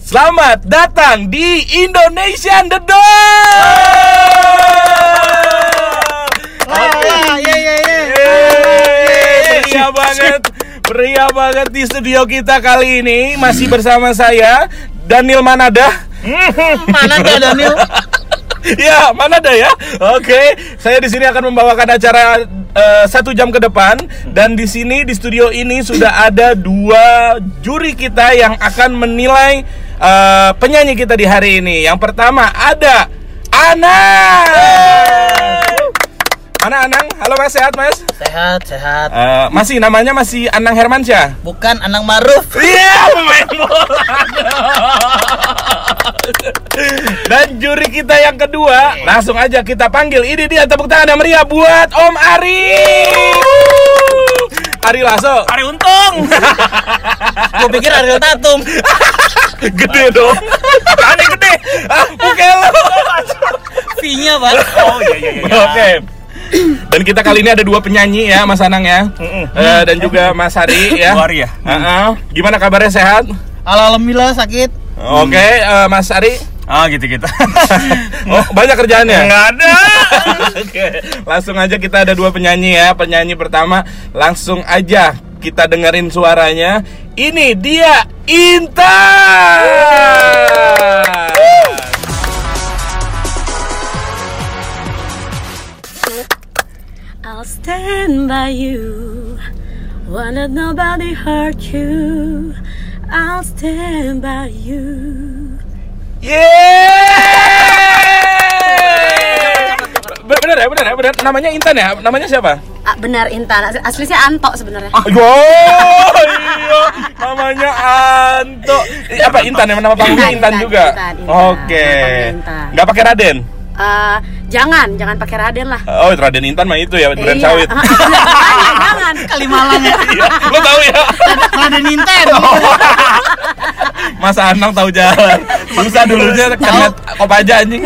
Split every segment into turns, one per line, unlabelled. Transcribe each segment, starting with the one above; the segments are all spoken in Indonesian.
Selamat datang di Indonesian The Door.
Wah, iya iya iya.
Yeay, Meriah banget. Meriah banget di studio kita kali ini masih bersama saya Daniel Manada.
iya. Mana tuh Daniel?
Ya, Manada ya. Oke, saya di sini akan membawakan acara eh, satu jam ke depan dan di sini di studio ini sudah ada dua juri kita yang akan menilai eh, penyanyi kita di hari ini. Yang pertama ada Anang. Mana Anang? Halo Mas, sehat Mas?
Sehat sehat.
Eh, masih namanya masih Anang Hermansyah.
Bukan Anang Maruf.
Iya, pemain bola. Dan juri kita yang kedua, langsung aja kita panggil. Ini dia tepuk tangan yang meriah buat Om Ari. Ari Lasso,
Ari Untung. Gue pikir Ariel Tatum.
gede dong. Tangannya gede. Ah, pukul.
V-nya pak.
Oh iya iya iya.
Oke. Dan kita kali ini ada dua penyanyi ya, Mas Anang ya, Eh, dan juga Mas Ari ya.
Bu Ari ya?
Heeh. Gimana kabarnya sehat?
Alhamdulillah sakit.
Oke, eh, Mas Ari.
Ah gitu gitu.
Oh, banyak kerjaannya.
Nggak ada.
Oke, langsung aja kita ada dua penyanyi ya. Penyanyi pertama langsung aja kita dengerin suaranya. Ini dia Intan.
I'll stand by you when it nobody hurt you. I'll stand by you.
Yeay! Be- Bener ya, bener ya, bener. Namanya Intan ya? Namanya siapa?
Ah, benar Intan, Asli- aslinya Anto sebenarnya.
Yo, iya, namanya Anto. Eh, Apa Intan ya? Nama panggungnya
Intan,
Intan
Intan,
juga.
Intan, Intan.
Oke.
Nama panggungnya Intan.
Nggak pakai Raden?
Eh, jangan, jangan pakai Raden lah.
Oh, Raden Intan mah itu ya, durian
Iya.
sawit.
Ah, jangan, jangan.
Kali malang ya.
Iya, lo tahu ya?
Raden Nintendo.
Oh,
Mas Anang tahu jalan. Susah dulunya karena kopaja anjing.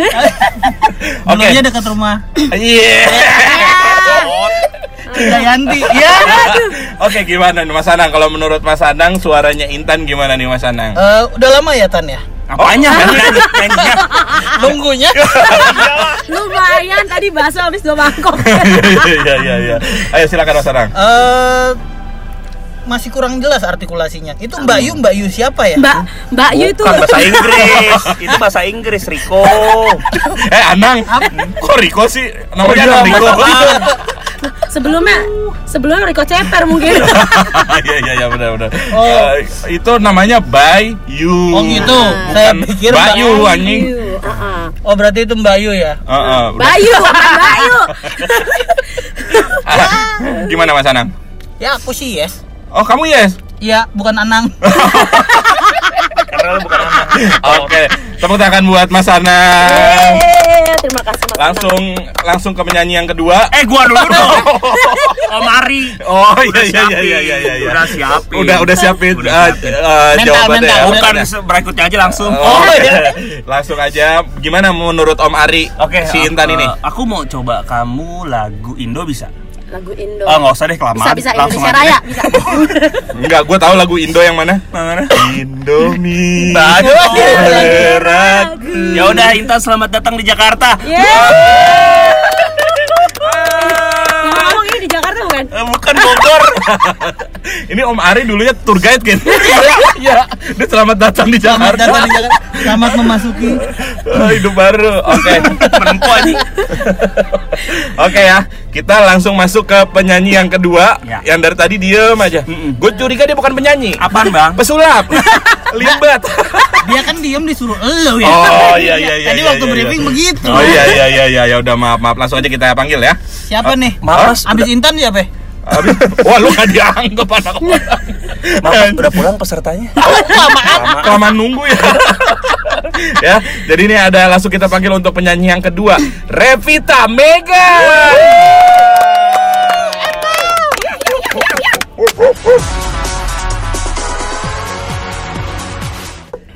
Oke.
Dulunya dekat rumah
Iya.
Dayanti. Ya.
Oke, gimana nih Mas Anang? Kalau menurut Mas Anang suaranya Intan gimana nih Mas Anang? Oh.
Eh, udah lama ya Tan ya?
Apanya?
Nunggunya.
Lumayan tadi bakso habis dua mangkok.
Iya iya iya. Ayo silakan Mas Anang.
Eh masih kurang jelas artikulasinya. Itu Mbak Yu, Mbak Yu siapa ya?
Mbak, Mbak Yu itu
Bukan bahasa Inggris. Itu bahasa Inggris Riko.
Eh Anang, kok Riko sih? Namanya
Oh,
iya,
Anang
Mas
Riko.
Anang.
sebelumnya sebelumnya Riko Ceper mungkin.
Iya iya iya benar benar.
Oh.
Eh, itu namanya By You.
Oh gitu.
Bukan
Saya pikir
Mbak
Mbak
Yu
Ayu.
anjing.
Yu, ah-ah.
Oh berarti itu Mbak Yu ya?
Heeh. Oh, udah.
Bayu, bukan Mbak Yu.
Ah, Gimana Mas Anang?
Ya aku sih yes.
Oh kamu yes?
Ya bukan Anang.
Karena lu bukan anak.
Oke, tepuk tangan buat Mas Anang.
Yeay, terima kasih Mas.
Langsung langsung ke penyanyi yang kedua.
Eh gua dulu dong. Om Ari.
Oh
Udah siapin. iya, Udah siapin.
iya, Udah udah siapin
Udah
eh,
siapin.
eh,
Mental,
jawabannya.
mental.
ya.
Bukan
Udah.
se- berikutnya aja langsung.
Oh, iya. Langsung aja gimana menurut Om Ari
Oke,
si
eh,
Intan ini?
Aku mau coba kamu lagu Indo bisa?
Lagu Indo.
Ah, nggak usah deh kelamaan.
bisa bisa
Langsung aja
Indonesia
deh.
Raya bisa.
Enggak, gue tahu lagu Indo yang mana.
Mana?
Indomie.
Berat. Ya udah Intan selamat datang di Jakarta.
Iya. Yeay. Yang ngomong ini di Jakarta bukan?
Eh, Bukan Bogor.
ini Om Ari dulunya tour guide kan? Iya. Dia selamat datang di
Selamat
Jakarta.
datang di Jakarta. Selamat memasuki.
Oh, hidup baru. Oke.
Perempuan nih.
Oke ya, kita langsung masuk ke penyanyi yang kedua
Ya.
Yang dari tadi diem aja
Mm-mm.
Gue curiga dia bukan penyanyi
Apaan, Bang?
Pesulap Limbat
Dia kan diem disuruh elu ya.
Oh iya iya iya
Tadi
iya,
waktu
iya,
briefing
iya.
begitu.
Oh iya iya iya iya ya udah maaf maaf langsung aja kita panggil ya
Siapa nih?
Maaf, Mas.
Abis Intan siapa? ya?
Abis- Wah lu gak dianggap anak orang
Maaf, udah pulang pesertanya?
Kelamaan nunggu ya Ya jadi ini ada langsung kita panggil untuk penyanyi yang kedua Revita Mega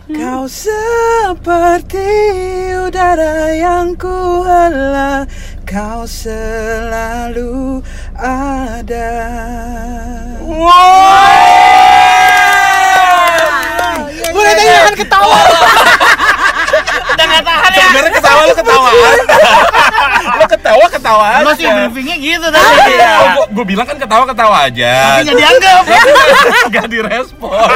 Kau seperti udara yang kuhela Kau selalu ada
Wow.
Boleh
kayaknya akan ketawa. Udah nggak tahan ya.
Sebenarnya ketawa lo ketawaan. lo ketawa ketawa aja.
Masih briefingnya gitu tadi.
Iya. Gue bilang kan ketawa ketawa aja.
Tapi nggak dianggap.
Gak direspon.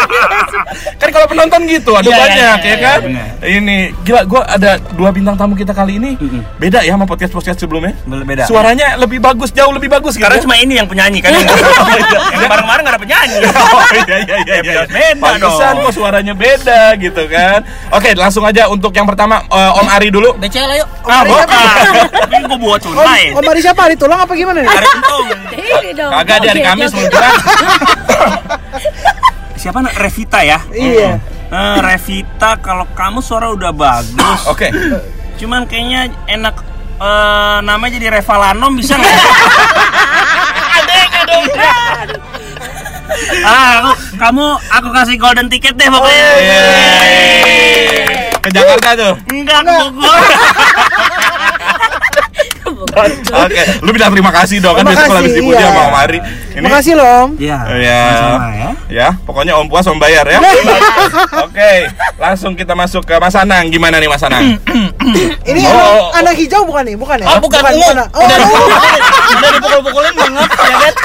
kan kalau penonton gitu ada
Iya, iya,
banyak
iya,
ya kan.
iya,
Ini gila gue ada dua bintang tamu kita kali ini beda ya sama podcast podcast sebelumnya.
Beda.
Suaranya lebih bagus jauh lebih bagus gitu
Karena
ya?
cuma ini yang penyanyi kan. yang bareng-bareng gak ada penyanyi.
Oh iya iya iya iya.
Beda dong.
Pantesan kok suaranya beda gitu kan. Oke, langsung aja untuk yang pertama eh, Om Ari dulu.
BCL ayo.
Ah, bukan. Tapi gue buat
Om,
tunai.
Om Ari siapa? Ari tulang apa gimana nih?
Hari untung.
Ini dong.
Kagak dia hari
Joget,
Kamis
joget.
mulu bilang.
Siapa nak? Revita ya?
Iya.
Eh, Revita kalau kamu suara udah bagus.
Oke.
Cuman kayaknya enak eh, namanya jadi Revalanom bisa nggak? ada yang dong. Ah, aku, kamu aku kasih golden ticket deh pokoknya.
Oh,
Iya.
Yeay. Iya, Ke Jakarta tuh.
Enggak, ke Bogor.
Oke, lu bilang terima kasih dong kan biasa kalau habis dipuji
iya.
sama Om Ari. Ini
Makasih loh Om.
Iya.
Ya,
sama-sama
ya.
ya.
pokoknya om puas om bayar ya. Oke, langsung kita masuk ke Mas Anang. Gimana nih Mas Anang?
Ini
Oh,
anak,
oh, oh.
anak hijau bukan nih? Bukan ya?
Oh bukan ungu.
anak- Oh,
Udah
anak ungu.
dipukul-pukulin, udah dipukul-pukulin banget ya kan.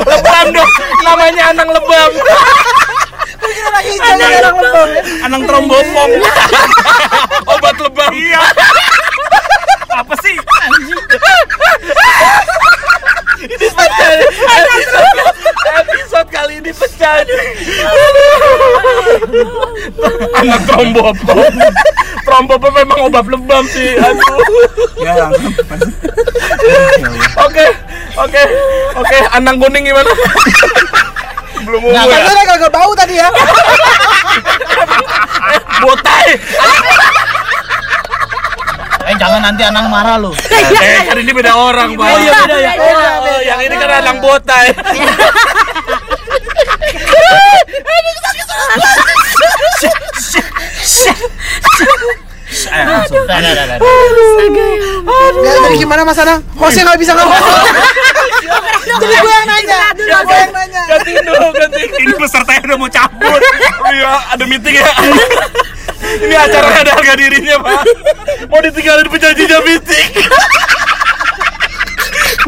lebam dong, namanya Anang lebam.
anak hijau anak anak lembang.
Anang trombopom.
Obat lebam.
Iya. Apa sih?
Episode- episode kali ini pecah anak trombopom trombopom memang obat lebam sih aduh
Ya, langsung.
oke oke oke anang kuning gimana belum
Nah,
umur
kan kagak bau tadi ya.
botai
Eh jangan nanti Anang marah lu.
eh kan ini beda orang pak
Oh, iya, beda ya?
Oh, oh, yang ini kan anang botai
Eh, langsung.
Dah, dah, dah, dah.
Ya, Jadi gimana Mas Anang? Hostnya nggak bisa ngomong. Jadi gue yang nanya. Gue yang nanya.
gantiin dulu gantiin
Ini pesertanya udah mau cabut.
Iya, ada meeting ya. Ini acaranya ada harga dirinya, Pak. Mau ditinggalin penjanjinya meeting.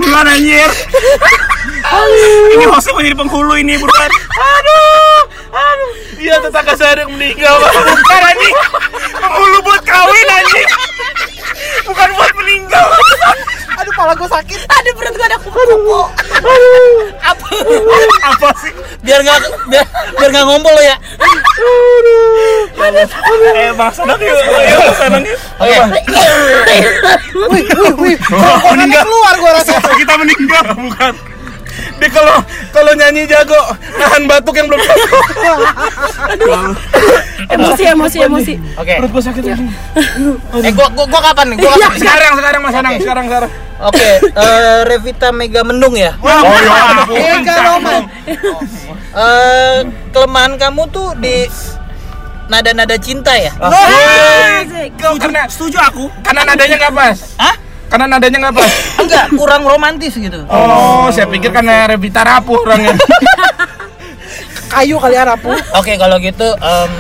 Buruan anjir. Ini hostnya mau jadi penghulu ini buruan.
Aduh, aduh. Iya, tetangga saya ada yang meninggal, Pak.
Bukan anjing. Penghulu buat kawin anjing. Bukan buat meninggal.
Aduh, kepala gue sakit.
Ada perut gua ada kupu-kupu.
Apa sih?
Biar nggak biar, biar nggak ngompol lu ya.
Eh, Mas Anang yuk. Ayo, Mas Anang yuk.
Oke.
Wih, wih, wih. Tongkongannya keluar gue rasa.
Sosok Oh, kita meninggal. Bukan.
Dia kalau kalau nyanyi jago, nahan batuk yang belum
Emosi, emosi, emosi.
Oke.
gua sakit lagi. Iya.
Eh gua gua gua kapan nih? Gua kapan? nih?
Sekarang, sekarang Mas Anang,
Oke.
sekarang, sekarang.
Oke, eh, Revita Mega Mendung ya.
Oh, iya, ampun.
Ega Roman.
Eh, kelemahan kamu tuh di nada-nada cinta ya.
Asik.
Karena
Setuju aku.
karena nadanya nggak pas.
Hah?
Karena nadanya nggak pas.
Enggak, kurang romantis gitu.
Oh, saya pikir karena Revita rapuh orangnya.
Kayu kali ya, Rapu.
Oke, kalau gitu em,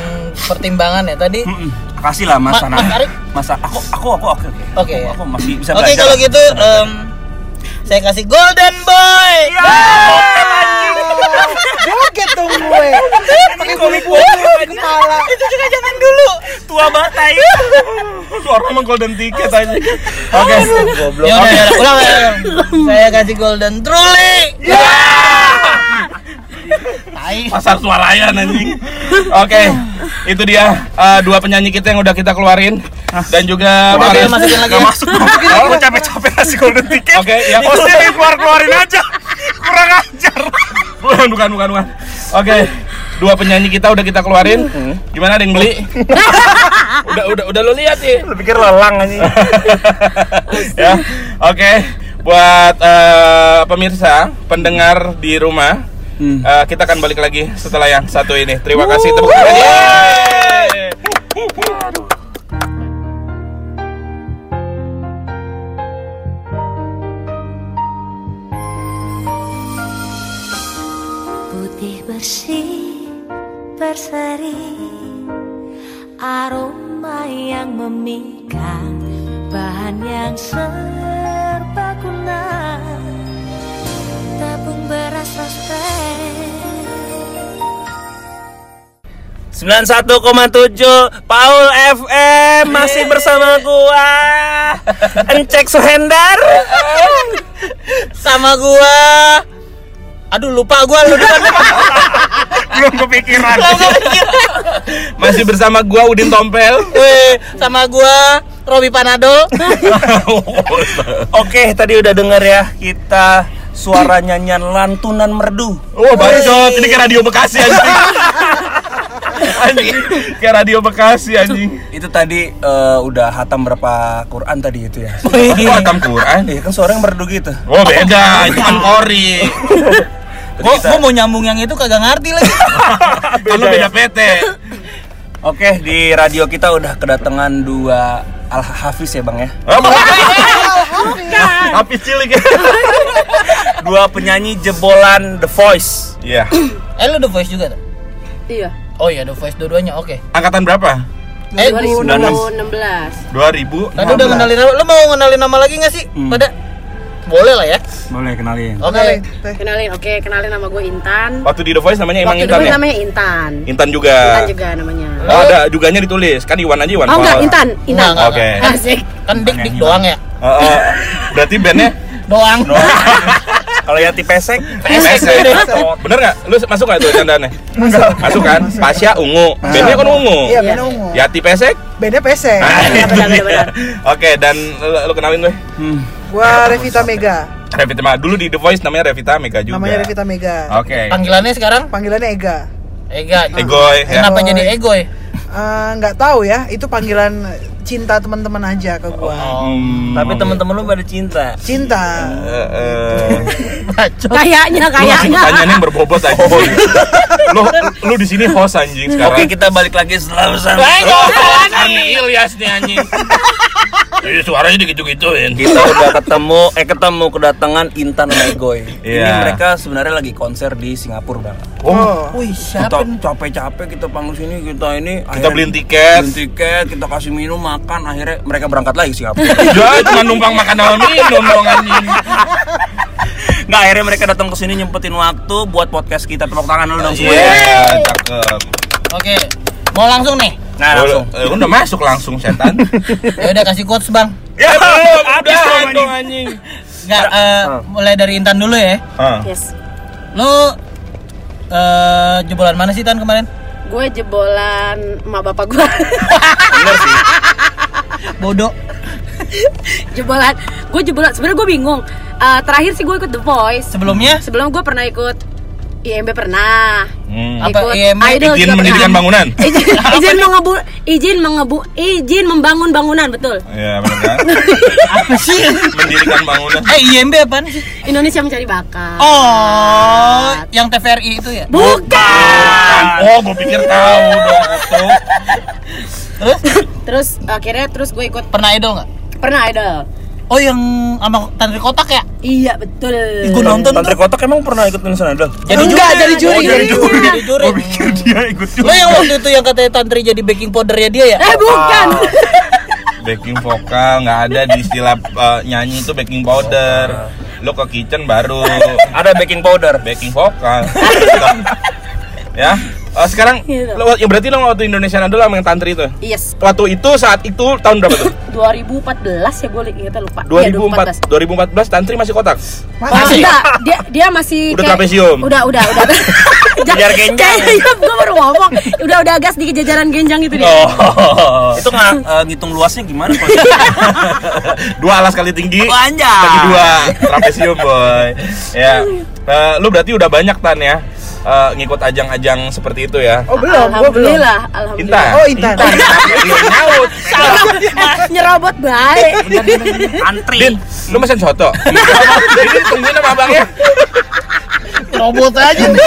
pertimbangan ya tadi.
Mm-mm. Makasih lah Mas
Ma-
Anang.
Mas Ari?
Mas A- aku aku aku oke oke.
Oke,
Aku-
ya.
Aku masih bisa
Oke, kalau gitu em, saya kasih Golden Boy.
Joget dong gue. Pakai kupu-kupu di kepala.
Itu juga jangan dulu.
tua banget tai.
Suara mah golden ticket aja. Oke. Goblok.
Ya udah, ya udah, ulang, ulang, ulang. Saya kasih Golden Truly. Tai.
pasar suarayan anjing. Oke, itu dia eh, dua penyanyi kita yang udah kita keluarin dan juga
Ah. Udah,
Marius.
dia masukin lagi.
Nggak
ya.
masuk.
Kalau mau capek-capek ngasih golden ticket.
Oke, ya.
Hostnya dia keluar-keluarin aja. Kurang ajar.
bukan bukan bukan. bukan. Oke. Dua penyanyi kita udah kita keluarin.
Hmm.
Gimana ada yang beli? udah udah udah lo lihat sih.
Lu pikir lelang anjing.
ya. Oke. Buat eh, pemirsa, pendengar di rumah,
Hmm.
eh, kita akan balik lagi setelah yang satu ini. Terima kasih tepuk tangan. Yeay.
Putih bersih berseri
Aroma yang memikat Bahan yang serbaguna Tabung beras prospek
91,7 Paul FM masih bersama gua Encek Suhendar
sama gua aduh lupa gua lu depan
belum kepikiran
Masih bersama gua Udin Tompel.
Weh, sama gua Robi Panadol
Oke tadi udah denger ya kita suara nyanyian lantunan merdu
Oh, bacot. Ini kayak radio Bekasi anjing. anjing. Kayak radio Bekasi anjing.
itu tadi eh, udah hatam berapa Quran tadi itu ya
Kok atam Quran?
Iya kan suaranya merdu gitu
Oh, beda. Itu kan ori.
gua, gua mau nyambung yang itu kagak ngerti lagi
Kan lu beda PT.
Oke di radio kita udah kedatangan dua Al Hafiz ya bang ya
Oh, Tapi cilik ya.
dua penyanyi jebolan The Voice
Iya.
eh lu The Voice juga tuh
Iya.
oh iya The Voice dua-duanya oke
Angkatan berapa?
eh
2016.
2000.
tadi udah kenalin nama lu mau kenalin nama lagi nggak sih
Hmm.
pada boleh lah ya
boleh kenalin
oke
Eh.
Kenalin, oke, kenalin nama gue Intan.
Waktu di The Voice namanya Oh, emang
Waktu
Intan
dulu
ya?
namanya Intan.
Intan juga.
Intan juga namanya.
Oh, ada juganya ditulis. Kan Iwan aja Iwan.
Oh enggak,
Fals.
Intan, Intan.
Enggak,
Oke.
Asik.
kan dik dik doang ya
Oh, oh. berarti bandnya
doang
kalau Yati
E
Pesek
PSS. Bener nggak? Lu masuk nggak tuh candaannya? Masuk kan? Pasya ungu. Bandnya kan ungu. Ya,
Iya, beda ungu.
Yati Pesek?
Beda pesek.
Nah, itu
benar,
dia.
benar.
E Oke, dan lu, lu kenalin gue.
Gua Revita Mega.
Revita Mega. Dulu di The Voice namanya Revita Mega juga.
Namanya Revita Mega.
Oke.
panggilannya sekarang
Panggilannya Ega.
Ega
Egoy. Ya.
kenapa jadi Egoy
Eh, nggak tahu ya, itu panggilan cinta teman-teman aja ke gua.
Hmm,
tapi
oke.
temen-temen lu pada cinta
Cinta.
Eh, eh.
bacot
Lu
Kayaknya,
ngasih
kayaknya.
pertanyaan yang berbobot aja. Lu lu di sini host anjing sekarang.
Oh, iya. Oke kita balik lagi setelah pesan
Arni Ilyas nih anjing. Jadi suaranya digitu-gituin.
Kita udah ketemu, eh ketemu kedatangan Intan sama Egoy Ini
Iya.
mereka sebenarnya lagi konser di Singapura bang
Oh,
Oh.
wih
Kita
siapa nih?
capek-capek kita panggil sini, kita
kita
ini akhirnya-
beliin tiket.
beliin tiket, kita kasih minum, makan Akhirnya mereka berangkat lagi ke Singapura
Ya, cuma numpang makan sama minum dong anjing.
Nggak, akhirnya mereka datang ke sini nyempetin waktu buat podcast kita Tepuk tangan dulu dong
Iya,
semuanya
cakep.
oke mau langsung nih
Nah langsung
Eh, udah masuk langsung setan.
ya udah kasih quotes bang
ya belum, udah
dong,
dong anjing.
Nggak, eh, mulai dari Intan dulu ya
Ah.
Yes.
lu eh jebolan mana sih Tan kemarin
Gue jebolan emak bapak gue.
bodoh
jebolan. Gue jebolan. Sebenarnya gue bingung. Eh, terakhir sih gue ikut The Voice.
sebelumnya
Sebelum gue pernah ikut IMB pernah.
Hmm.
Apa
ikut
IMB?
Idol
Izin
juga
mendirikan
pernah.
bangunan.
Izin, izin mengebu, izin mengebu, izin membangun bangunan betul.
Iya, benar kan?
apa sih
Mendirikan bangunan.
eh IMB apaan sih
Indonesia mencari bakat.
oh yang TVRI itu ya
Bukan.
Oh, gua pikir tahu dong itu.
Terus akhirnya terus gue ikut
pernah idol nggak
pernah idol.
oh yang sama tantri kotak ya
Iya betul.
Ikut nonton
Tantri Kotak emang pernah ikut Indonesia Idol?
jadi
Enggak,
juri Oh,
jadi juri.
jadi juri, jadi juri.
dia ikut
lo yang waktu itu yang katanya tantri jadi baking powdernya dia ya
Eh bukan.
Baking vokal nggak ada di istilah eh, nyanyi itu baking powder. Lo ke kitchen baru
Ada baking powder
baking vokal. ya. Eh, sekarang
Gitu.
Iya.
lo- ya berarti lo waktu Indonesia Idol sama yang tantri itu.
Yes.
Waktu itu saat itu tahun berapa tuh?
2014
Iya,
ya gue ingetnya lupa. Iya,
2004 2014 tantri masih kotak.
Oh, enggak, dia dia masih
Udah
kayak-
trapesium.
Udah, udah, udah.
Jajar genjang.
gue baru ngomong. Udah, udah agak sedikit jajaran genjang
Iya.
gitu dia.
Oh.
Itu nggak eh, ngitung luasnya gimana? Pak?
dua alas kali tinggi
Oh, anjay.
bagi dua trapesium boy ya Eh, lu berarti udah banyak tan ya eh, ngikut ajang-ajang seperti itu ya
Oh belum, gua belum.
Alhamdulillah, alhamdulillah.
Intan
Oh, Intan.
Lu nyaut
Eh, nyerobot baik.
Din
Antri
lu mesen soto jadi tungguin sama abangnya
robot aja nih.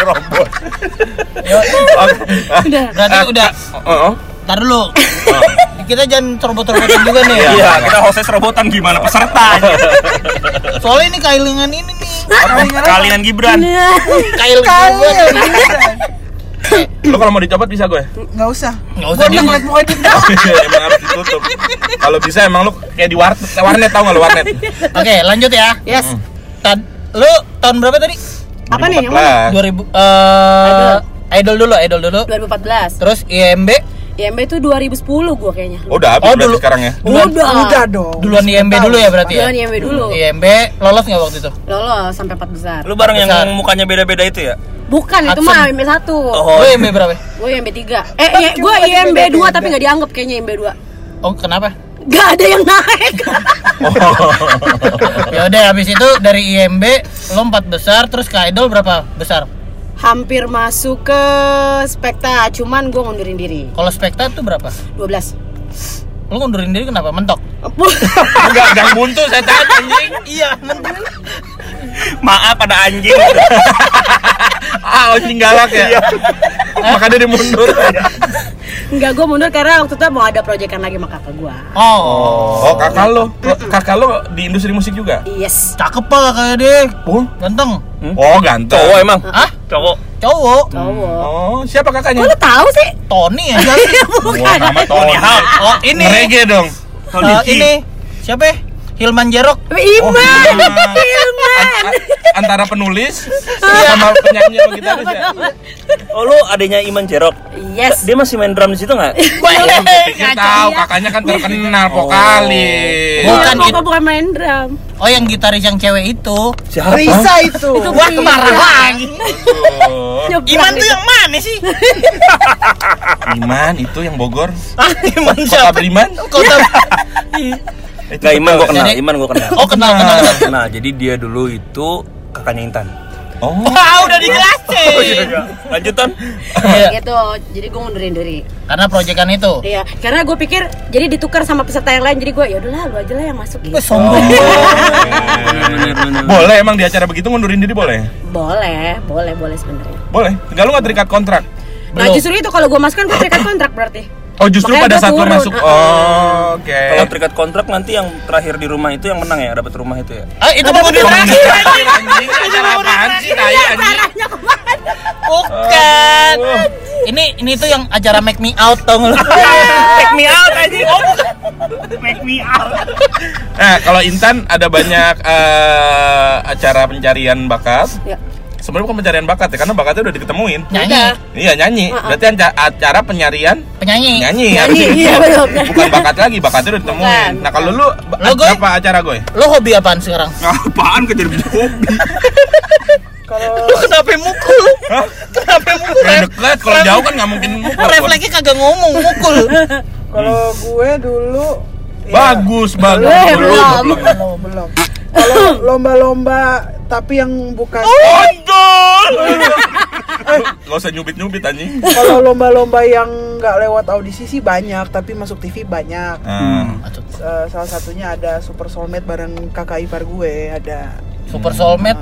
robot
Udah.
berarti udah
oh
Ntar dulu kita jangan robot-robotan juga nih
Iya.
Iya, kita hostess robotan gimana peserta aja.
soalnya ini kailingan ini nih
Kalian Gibran.
Nah,
kail
Kali.
gue
Lo kalau mau dicopot bisa gue.
Nggak usah.
Nggak usah
Gue udah
dia.
ngeliat muka dia.
Iya, emang harus ditutup. Kalau bisa emang lo kayak di warnet, warnet tau nggak lo warnet?
Oke, lanjut ya.
Yes.
Tad, lu tahun berapa tadi?
Apa nih, yang
2014.
2000 eh idol dulu, idol dulu.
2014.
Terus IMB,
IMB Ya, itu 2010 gua kayaknya.
Oh, udah habis
Oh,
berarti
dulu.
sekarang ya.
duluan,
Udah.
Udah dong.
duluan IMB dulu ya berarti ya?
Duluan IMB dulu.
IMB lolos nggak waktu itu?
Lolos sampai 4 besar.
Lu bareng
Besar.
yang mukanya beda-beda itu ya?
Bukan itu
Hudson.
mah IMB 1.
Oh.
Lu IMB berapa?
Gue IMB 3. Eh, iya, gua IMB 2 tapi nggak dianggap kayaknya IMB 2.
Oh, kenapa?
Gak ada yang naik.
Oh.
ya udah habis itu dari IMB lo 4 besar terus ke idol berapa besar?
Hampir masuk ke Spekta, cuman gua ngundurin diri.
Kalau Spekta tuh berapa?
12.
Lo ngundurin diri kenapa? Mentok.
Enggak, jangan buntu saya tanya anjing.
Iya, mentok.
Maaf ada anjing.
Ah, anjing galak ya. Makanya dia mundur.
Enggak, gua mundur karena waktu itu mau ada proyekan lagi sama kakak gua.
Oh.
Oh, kakak lo. Kakak lo di industri musik juga?
Yes.
Cakep pak kakaknya dia.
Oh,
Ganteng.
oh ganteng.
Cowok emang?
Hah?
Cowok.
Cowok.
Cowok.
Oh, siapa kakaknya?
Kok lu tahu sih?
Tony ya? Eh, aja.
iya.
Wah, sama Tony Hawk.
Oh, ini.
Reggae dong.
Eh, ini siapa ya? Hilman Jerok.
Iman,
Hilman.
Oh. Iman.
Antara penulis sama penyanyi sama gitaris ya.
Oh lu adanya Iman Jerok.
Yes.
Dia masih main drum di situ nggak?
Dia tahu kakaknya kan terkenal vokalis.
Oh.
Bukan gitu.
Bukan
itu.
itu.
Bukan main drum.
Oh, yang gitaris yang cewek itu.
Siapa?
Risa itu.
Itu
Wah,
Iman.
marah lagi.
Oh.
Nyebrang
Iman tuh
itu.
yang mana sih?
Iman itu yang Bogor.
Ah, Iman
Kota
siapa?
Beriman.
Kota.
Nggak, Iman gua kenal,
Jadi-
Iman gua kenal.
Oh,
Iya.
kenal kenal. kenal.
Nah, jadi dia dulu itu kakaknya Intan.
Oh.
Wah, Ah, udah
Oh, iya.
dijelasin.
Lanjutan.
Iya,
Gitu. Jadi gue ngundurin diri.
karena proyekan itu.
Iya. Karena gue pikir jadi ditukar sama peserta yang lain. Jadi gue ya udahlah lu aja lah yang masuk. Gitu.
Gue sombong.
Eh,
Boleh emang di acara begitu ngundurin diri boleh?
Boleh, boleh, boleh sebenarnya.
Boleh. Enggak lu nggak terikat kontrak.
Nah
Belum.
justru itu kalau gue masuk kan gue terikat kontrak berarti.
Oh justru pada
Makanya gua
saat lu
turun.
masuk.
Uh-uh.
Oh, Oke.
Kalau terikat kontrak nanti yang terakhir di rumah itu yang menang ya, dapat rumah itu ya.
Ah, itu mau lagi.
Anjing, acara apaan sih, tai, anjing?
Arahnya kemana?
Bukan. Ini ini tuh yang acara make me out tau nggak lu?
Take me out aja. Make me out.
Nah, kalau Intan ada banyak eh, acara pencarian bakat.
Ya.
Sebenarnya bukan pencarian bakat ya, karena bakatnya udah diketemuin.
Nyanyi,
Iya nyanyi. Berarti anca- acara penyarian
penyanyi.
nyanyi.
Nyanyi,
harusnya.
iya, betul.
Bukan bakat lagi, bakatnya udah ditemuin.
Bukan.
Nah kalau lu ba-
Lo, Goy?
berapa acara gue?
Lo hobi apaan sekarang?
Apaan kejar hobi?
Lo kenapa mukul?
Hah?
Kenapa mukul?
Kalau dekat, kalau
Ref-
jauh kan nggak mungkin mukul.
Refleksnya kagak ngomong, mukul.
Kalau gue dulu ya,
Bagus, bagus.
Eh,
Belum,
belum.
belum.
belum belum. Kalau lomba-lomba tapi yang bukan
Oh, iya.
Ondol. Gak usah nyubit-nyubit anjing. Nah,
kalau lomba-lomba yang nggak lewat audisi sih banyak tapi masuk TV banyak.
Nah,
Eh, salah satunya ada Super Soulmate bareng kakak ipar gue ada.
Super soulmate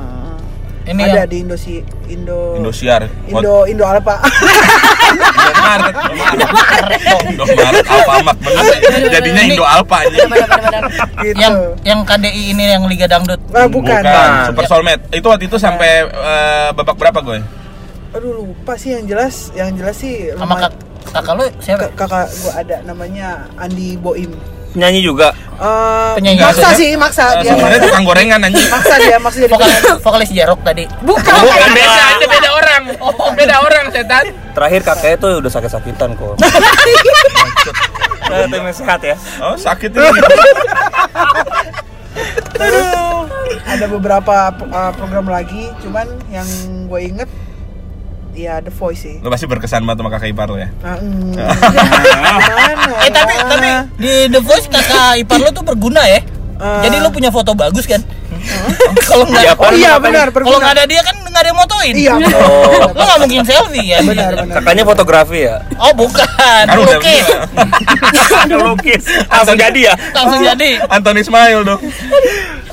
Eh,
ini
ada
ya.
di Indosi Indo
Indosiar.
Indo Indo Alpa.
Indomaret. Indomaret Alfamart bener. Jadinya Indo Alfa anjing.
Benar-benar.
gitu.
Yang yang KDI ini yang Liga Dangdut.
Ah, bukan.
Super Soulmate. Itu waktu itu sampai eh, babak berapa gue?
Aduh lupa sih yang jelas, yang jelas sih
Sama
lumayan-
kak, kakak lu siapa?
Ka- kakak gue ada namanya Andi Boim.
Nyanyi juga.
Eh,
Penyanyi Ah,
maksa
maksudnya?
sih, maksa dia
Sebenarnya
maksa.
tukang gorengan anjing.
maksa dia, maksa jadi
Vokalis, vokalis Jarok tadi. Oh,
Bukan, beda, itu beda orang. Beda orang setan.
Terakhir kakaknya tuh udah sakit-sakitan kok. Nah, Tim sehat ya.
Oh, sakit ini.
Terus ada beberapa uh, program lagi, cuman yang gue inget ya The Voice sih.
Lu pasti berkesan banget sama kakak ipar lo ya.
Nah, mm, gimana?
Eh tapi tapi di The Voice kakak ipar lu tuh berguna ya.
Eh.
Jadi lu punya foto bagus kan? Kalau
Iya,
nggak
oh iya benar,
kalau nggak
berguna.
ada dia kan nggak ada yang motoin.
Iya, benar.
Oh.
Lu nggak mungkin selfie kan?
benar, benar.
Kakaknya fotografi ya.
Oh bukan,
Kan udah
lukis.
Lukis. Langsung jadi ya.
Langsung jadi.
Anthony Ismail dong.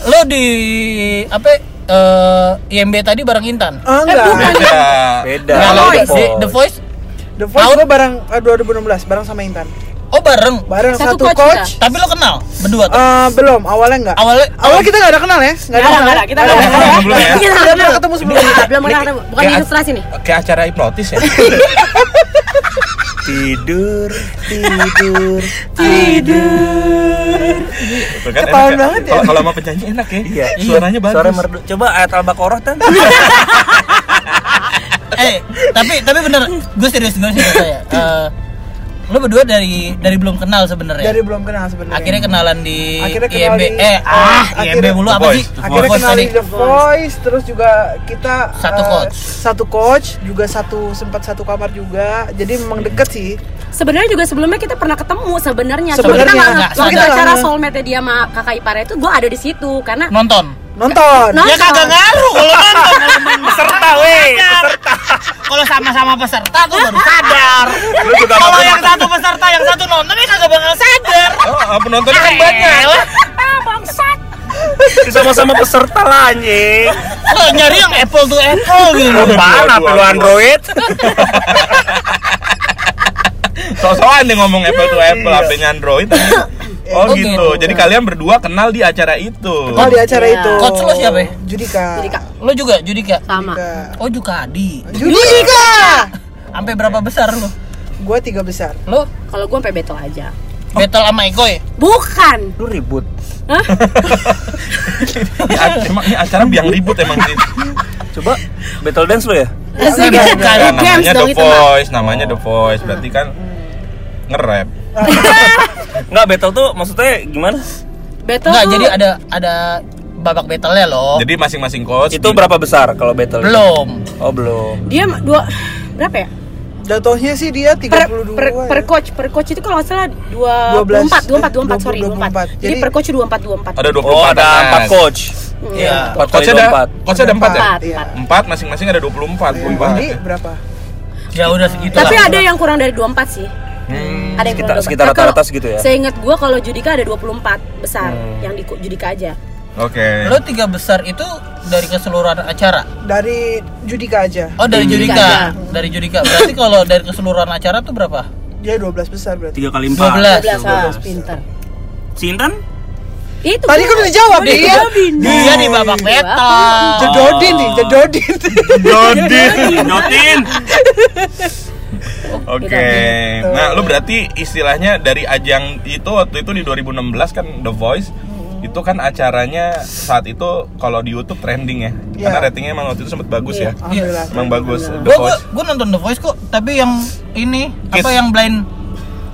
Lu di apa? eh, IMB tadi bareng Intan.
Ah, enggak.
Beda.
Beda.
iya. Oh,
Kalau
The
di
Voice.
Nah, The Voice,
The Voice
Tahun?
gue bareng eh, 2016 bareng sama Intan.
oh bareng.
Bareng
Satu
satu,
coach
coach.
Tapi lo kenal berdua tuh.
Eh, belum, awalnya enggak.
Awalnya
Awalnya kita enggak ada kenal ya? Enggak
Nggak ada, nggak ada. Kita nggak ada.
Belum, belum ya?
Kita nggak
Udah
ada.
pernah ketemu sebelumnya.
Belum pernah ketemu. Bukan
Kayak-
ilustrasi nih.
Kayak acara hipnotis ya. tidur tidur
Tidur.
Tuh kan
Ketahuan
enak
banget ya.
Kalau- Kalau sama penyanyi enak ya. Iya. Suaranya bagus.
Suara merdu. Coba ayat al-Baqarah tan.
Oh.
eh tapi tapi bener gue serius gue serius saya Eh, lo berdua dari dari belum kenal sebenarnya
Dari belum kenal sebenarnya.
akhirnya kenalan di
Akhirnya kenal
IMB
di-
eh ah
akhirnya-
IMB mulu
The
apa
Voice,
sih
The
akhirnya
Voice
kenal di
tadi.
The Voice, terus juga kita
Satu
eh,
coach.
satu coach, juga satu sempat satu kamar juga, jadi memang deket sih.
Sebenarnya juga sebelumnya kita pernah ketemu sebenarnya.
Sebenarnya,
Cuma kita
nggak
nggak cuma
sadar.
kita acara soulmate dia sama kakak iparnya itu gue ada di situ karena
nonton
Nonton.
Nonton.
ya kagak ngaruh kalau nonton
peserta weh. Peserta.
kalau sama-sama peserta tuh baru sadar
Lu juga
kalau
nonton.
yang satu peserta yang satu nonton ya kagak bakal sadar
Oh, penontonnya kan banyak.
Iya.
Elah,
"Ah, bangsat.
Sama-sama peserta lah anjing.
lo nyari yang apple to apple gitu
Apaan apa lu Android? Sosokan nih ngomong Apple
Iya.
to Apple, HP-nya Android. anjing. Oh
Oh,
gitu.
gitu.
Jadi kalian berdua kenal di acara itu.
Oh, di acara
Iya.
itu.
Coach lo siapa ya?
Judika.
Jadi kak
lo juga Judika
sama.
Judika.
oh juga Adi
Judika.
sampai berapa besar lo
Gue tiga besar.
lo
Kalau gue sampai battle aja.
battle sama Eko ya
Bukan.
Lu ribut.
Hah?
Ini a- emang ini acara biang ribut emang sih.
Coba battle dance lu ya?
Asik.
Ya,
Games
namanya
dong
The
itu. Mbak.
Voice, namanya The Voice. Berarti kan nge-rap.
Enggak battle tuh maksudnya gimana?
Battle
Enggak,
tuh-
jadi ada ada babak battle-nya loh.
Jadi masing-masing coach
Itu berapa besar kalau battle?
belum.
Oh, belum.
dia ma- dua berapa ya?
Jatuhnya sih dia
Per,
32
per,
ya.
per coach, per coach itu kalau nggak salah
12,
24, 24, 24, sorry
24.
24. Jadi,
Jadi-
per coach 24, 24.
ada 24
Oh, ada
empat
empat coach.
Hmm.
Iya.
Empat kali
Coachnya ada
empat.
coachnya ada empat ya?
Empat,
Iya.
empat.
Empat masing-masing ada 24
Iya.
puluh
Jadi berapa?
Ya udah segitu
Tapi
lah.
ada yang kurang dari 24 sih.
Hmm.
Ada
Sekitar-
yang kurang
sekitar rata-rata
24. Nah, Kalau-
segitu ya?
Saya ingat gua kalau Judika ada 24 besar yang di Judika aja.
Oke.
Lo tiga besar itu dari keseluruhan acara.
Dari Judika aja.
Oh, dari Judika.
Judika.
Dari Judika. Berarti kalau dari keseluruhan acara tuh berapa?
Dia 12 besar berarti.
Tiga kali
12.
empat.
12 ah, pinter.
Sintan?
Itu
Tadi
gua-
kan udah jawab,
gua
Dik.
dijawabin.
Iya.
Dia di babak battle.
Jedodin nih, jedodin.
Dodin.
Jotin.
Oke. Nah, lu berarti istilahnya dari ajang itu waktu itu di 2016 kan The Voice itu kan acaranya saat itu kalau di YouTube trending ya. Karena
Iya.
ratingnya emang waktu itu sempat bagus ya.
Alhamdulillah.
Emang bagus The
Iya. Gua, gua,
Voice.
gua nonton The Voice kok, tapi yang ini apa
Kids.
yang blind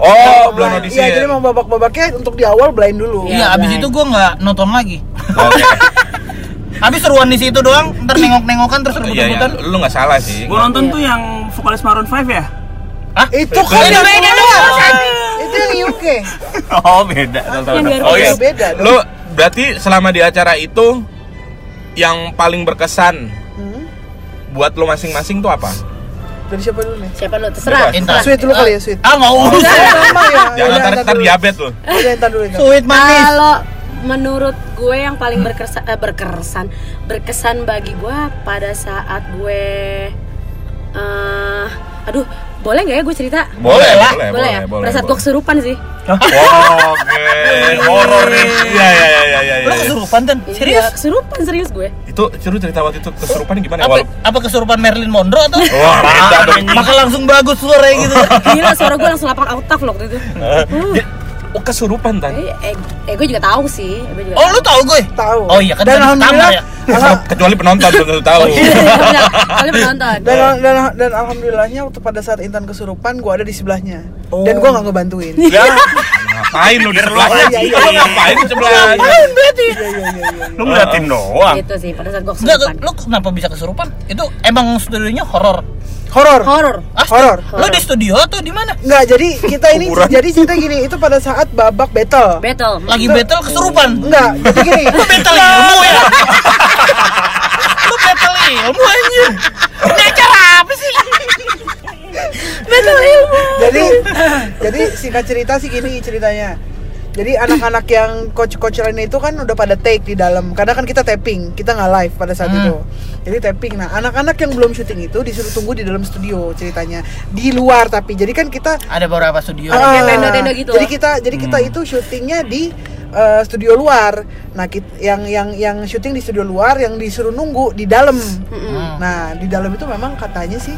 Oh, belum
Nah,
audisi.
Iya, jadi memang babak-babaknya untuk di awal blind dulu.
Iya, abis
blind.
itu gua nggak nonton lagi.
Oke.
Abis seruan di situ doang, ntar nengok-nengokan terus
Iya, iya.
rebut-rebutan.
Lu nggak salah sih.
Gua nonton tuh yang vokalis Maroon 5 ya?
Hah?
Itu kan
Beda,
yang
beda,
luar.
beda.
Itu yang UK.
Oh, beda.
Yang dari-
Oh iya.
Beda dong.
Lu berarti selama di acara itu yang paling berkesan
Hmm?
buat lu masing-masing tuh apa?
Dari siapa dulu nih?
Siapa lu terserah.
Bebas.
Intan.
Sweet dulu kali ya, sweet.
Ah, nggak
Iya.
usah.
Lama ya.
Oh, iya,
Jangan ntar ntar diabetes lu.
Udah entar Iya, dulu Intan.
Sweet
Iya.
manis.
Kalau menurut gue yang paling berkesan, berkesan, berkesan bagi gue pada saat gue, eh, aduh, boleh nggak ya gue cerita?
Boleh,
lah.
boleh,
ya.
boleh, boleh.
pada saat gue kesurupan sih.
Oke, horor nih. Iya, iya, iya, iya, iya.
Lo
iya.
kesurupan Tan?
Iya,
Serius?
kesurupan serius gue.
Itu seru cerita waktu itu kesurupan gimana ya?
Apa,
Walau-
apa kesurupan Marilyn Monroe atau?
Wah, beda dong.
Maka langsung bagus suaranya gitu.
Gila suara gue langsung lapang out loh waktu itu.
Nah. Dia- Oh, kesurupan tadi.
Eh, eh, eh, gue juga tahu sih. Eh, gue juga
Oh
tahu.
lu tahu gue?
Tahu.
Oh iya kan
dan
tadi
alhamdulillah.
pertama ya.
Alham-
Kecuali penonton belum tentu
Oh,
tahu.
iya,
Bener, Kalian menonton.
Nah.
dan, dan, dan alhamdulillahnya waktu pada saat Intan kesurupan gue ada di sebelahnya dan gue nggak ngebantuin iya
Ya,
Ngapain lu di sebelahnya?
Iya, iya,
Lu
iya.
ngapain di sebelahnya?
iya iya iya
lu ngeliatin doang.
Gitu sih pada saat gue
Enggak,
kesurupan.
lu kenapa bisa kesurupan? Itu emang studionya horor.
horor
Horor.
Ah, stu-
Horor.
Lu di studio atau di mana?
nggak jadi kita ini jadi cerita gini itu pada saat babak battle
Battle.
Lagi battle kesurupan.
nggak jadi gini
Lu battle ilmu ya? lu battle ilmu anjir. Ini acara apa sih?
Battle ilmu.
jadi jadi singkat cerita sih gini ceritanya jadi anak-anak yang coach-coach lainnya itu kan udah pada take di dalam karena kan kita tapping kita nggak live pada saat itu jadi tapping nah anak-anak yang belum syuting itu disuruh tunggu di dalam studio ceritanya di luar tapi jadi kan kita
Ada beberapa studio.
Ah,
kayak tenda-tenda gitu
Jadi
loh.
kita jadi kita
Hmm.
itu syutingnya di eh, studio luar. Nah, kit- yang yang yang syuting di
Hmm.
studio luar yang disuruh nunggu di dalam. Nah, di dalam itu memang katanya sih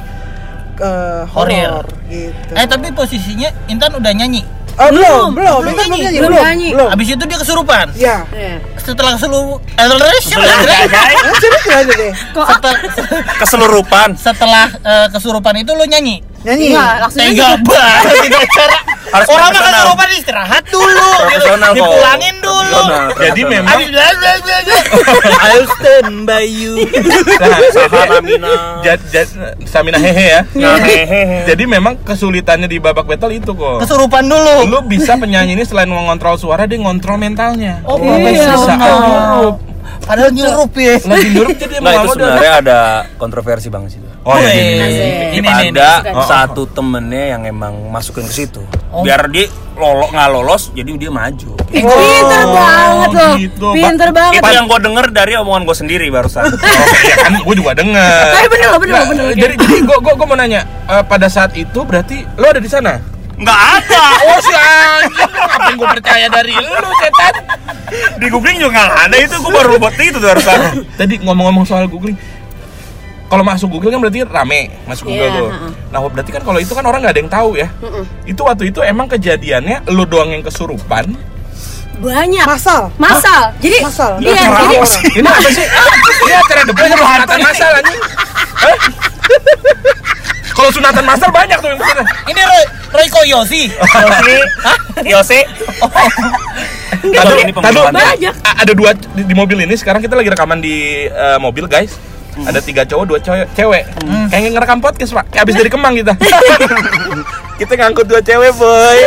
eh,
Horor.
horor gitu.
Eh tapi posisinya Intan udah nyanyi.
Oh, belum,
belum,
belum
belum, Intan belum
nyanyi,
nyanyi,
belum
belum,
nyanyi.
belum.
Habis itu dia kesurupan.
Ya,
Iya.
Setelah kesurupan eh,
Hah, coba coba aja deh.
setelah,
Keselurupan
setelah eh, kesurupan itu lu nyanyi.
Nyanyi.
Iya.
Enggak, langsung aja.
Tega banget tidak cara.
Harus
Orang makan
profesional.
kesurupan istirahat dulu gitu.
Profesional kok.
Dipulangin dulu.
Profesional,
Jadi
profesional.
memang
Habis bla bla bla bla. I'll stand by you.
nah,
Sahabat Amina.
jad, jad, Samina hehe ya.
Nah, hehehe.
Jadi memang kesulitannya di babak battle itu kok.
Kesurupan dulu.
Lu bisa penyanyi ini selain mengontrol suara, dia ngontrol mentalnya.
Oh,
Iya.
profesional.
nyurup.
Padahal nyurup ya.
Lagi nyurup jadi
Nah itu
mau
sebenarnya ada kontroversi bang sih.
Oh iya.
Weh,
iya, iya.
Asik.
ini ini.
ada
ini.
satu temennya yang emang masukin ke situ.
Oh.
Biar dia lolo nggak lolos, jadi dia maju.
Eh, pinter banget loh.
gitu.
Pinter banget.
Itu yang gue denger dari omongan gue sendiri barusan.
Ya kan gue juga dengar. Nah,
Tapi Eh, bener loh, bener loh, bener loh.
Jadi jadi gue gue mau nanya eh, pada saat itu berarti lo ada di sana?
Nggak ada.
Oh si anjing, apa yang gue percaya dari lu setan?
Di googling juga nggak ada itu. Gue baru buat itu tuh barusan.
Tadi ngomong-ngomong soal googling, kalau masuk Google kan berarti rame masuk Google
Iya,
tuh.
ha-ha.
Nah berarti kan kalau itu kan orang nggak ada yang tahu ya.
Mm-mm.
Itu waktu itu emang kejadiannya lo doang yang kesurupan.
Banyak.
Masal.
Masal. Jadi
Masal.
Iya,
Kenapa
jadi
sih?
Ini apa sih? Ini acara debat sama sunatan masal anjing. Hah? Kalau sunatan masal banyak tuh yang bener.
Ini Roy, Roy Koyosi.
Yosi, Yosi.
Tadu,
Ini pembukaan.
tadu,
Banyak.
Nah, a- ada dua c- di, di mobil ini sekarang kita lagi rekaman di eh, mobil guys. Ada tiga cowok, dua cowok, cewek. Kayak ngerekam podcast pak. Kayak abis dari Kemang kita. kita ngangkut dua cewek boy.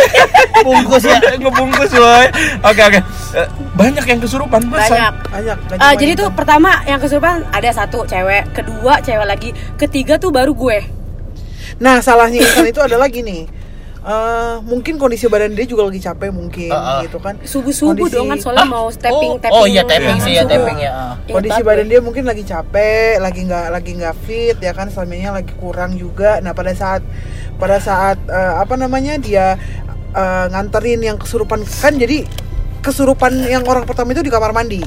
Bungkus ya.
Ngebungkus boy. Oke oke. Eh, banyak yang kesurupan masa.
banyak.
Banyak. banyak
Eh, jadi
wanita.
tuh pertama yang kesurupan ada satu cewek, kedua cewek lagi, ketiga tuh baru gue.
Nah, salahnya Intan itu adalah gini. eh mungkin kondisi badan dia juga lagi capek mungkin
Ah, ah.
gitu kan.
Subuh-subuh
Kondisi-
dong kan soalnya mau tapping
oh,
tapping.
oh iya tapping sih ya
Subuh.
tapping ya. ah.
Ingat
kondisi
banget
badan
gue.
dia mungkin lagi capek, lagi nggak lagi nggak fit ya kan suaminya lagi kurang juga. Nah pada saat pada saat eh, apa namanya dia eh, nganterin yang kesurupan kan jadi kesurupan yang orang pertama itu di kamar mandi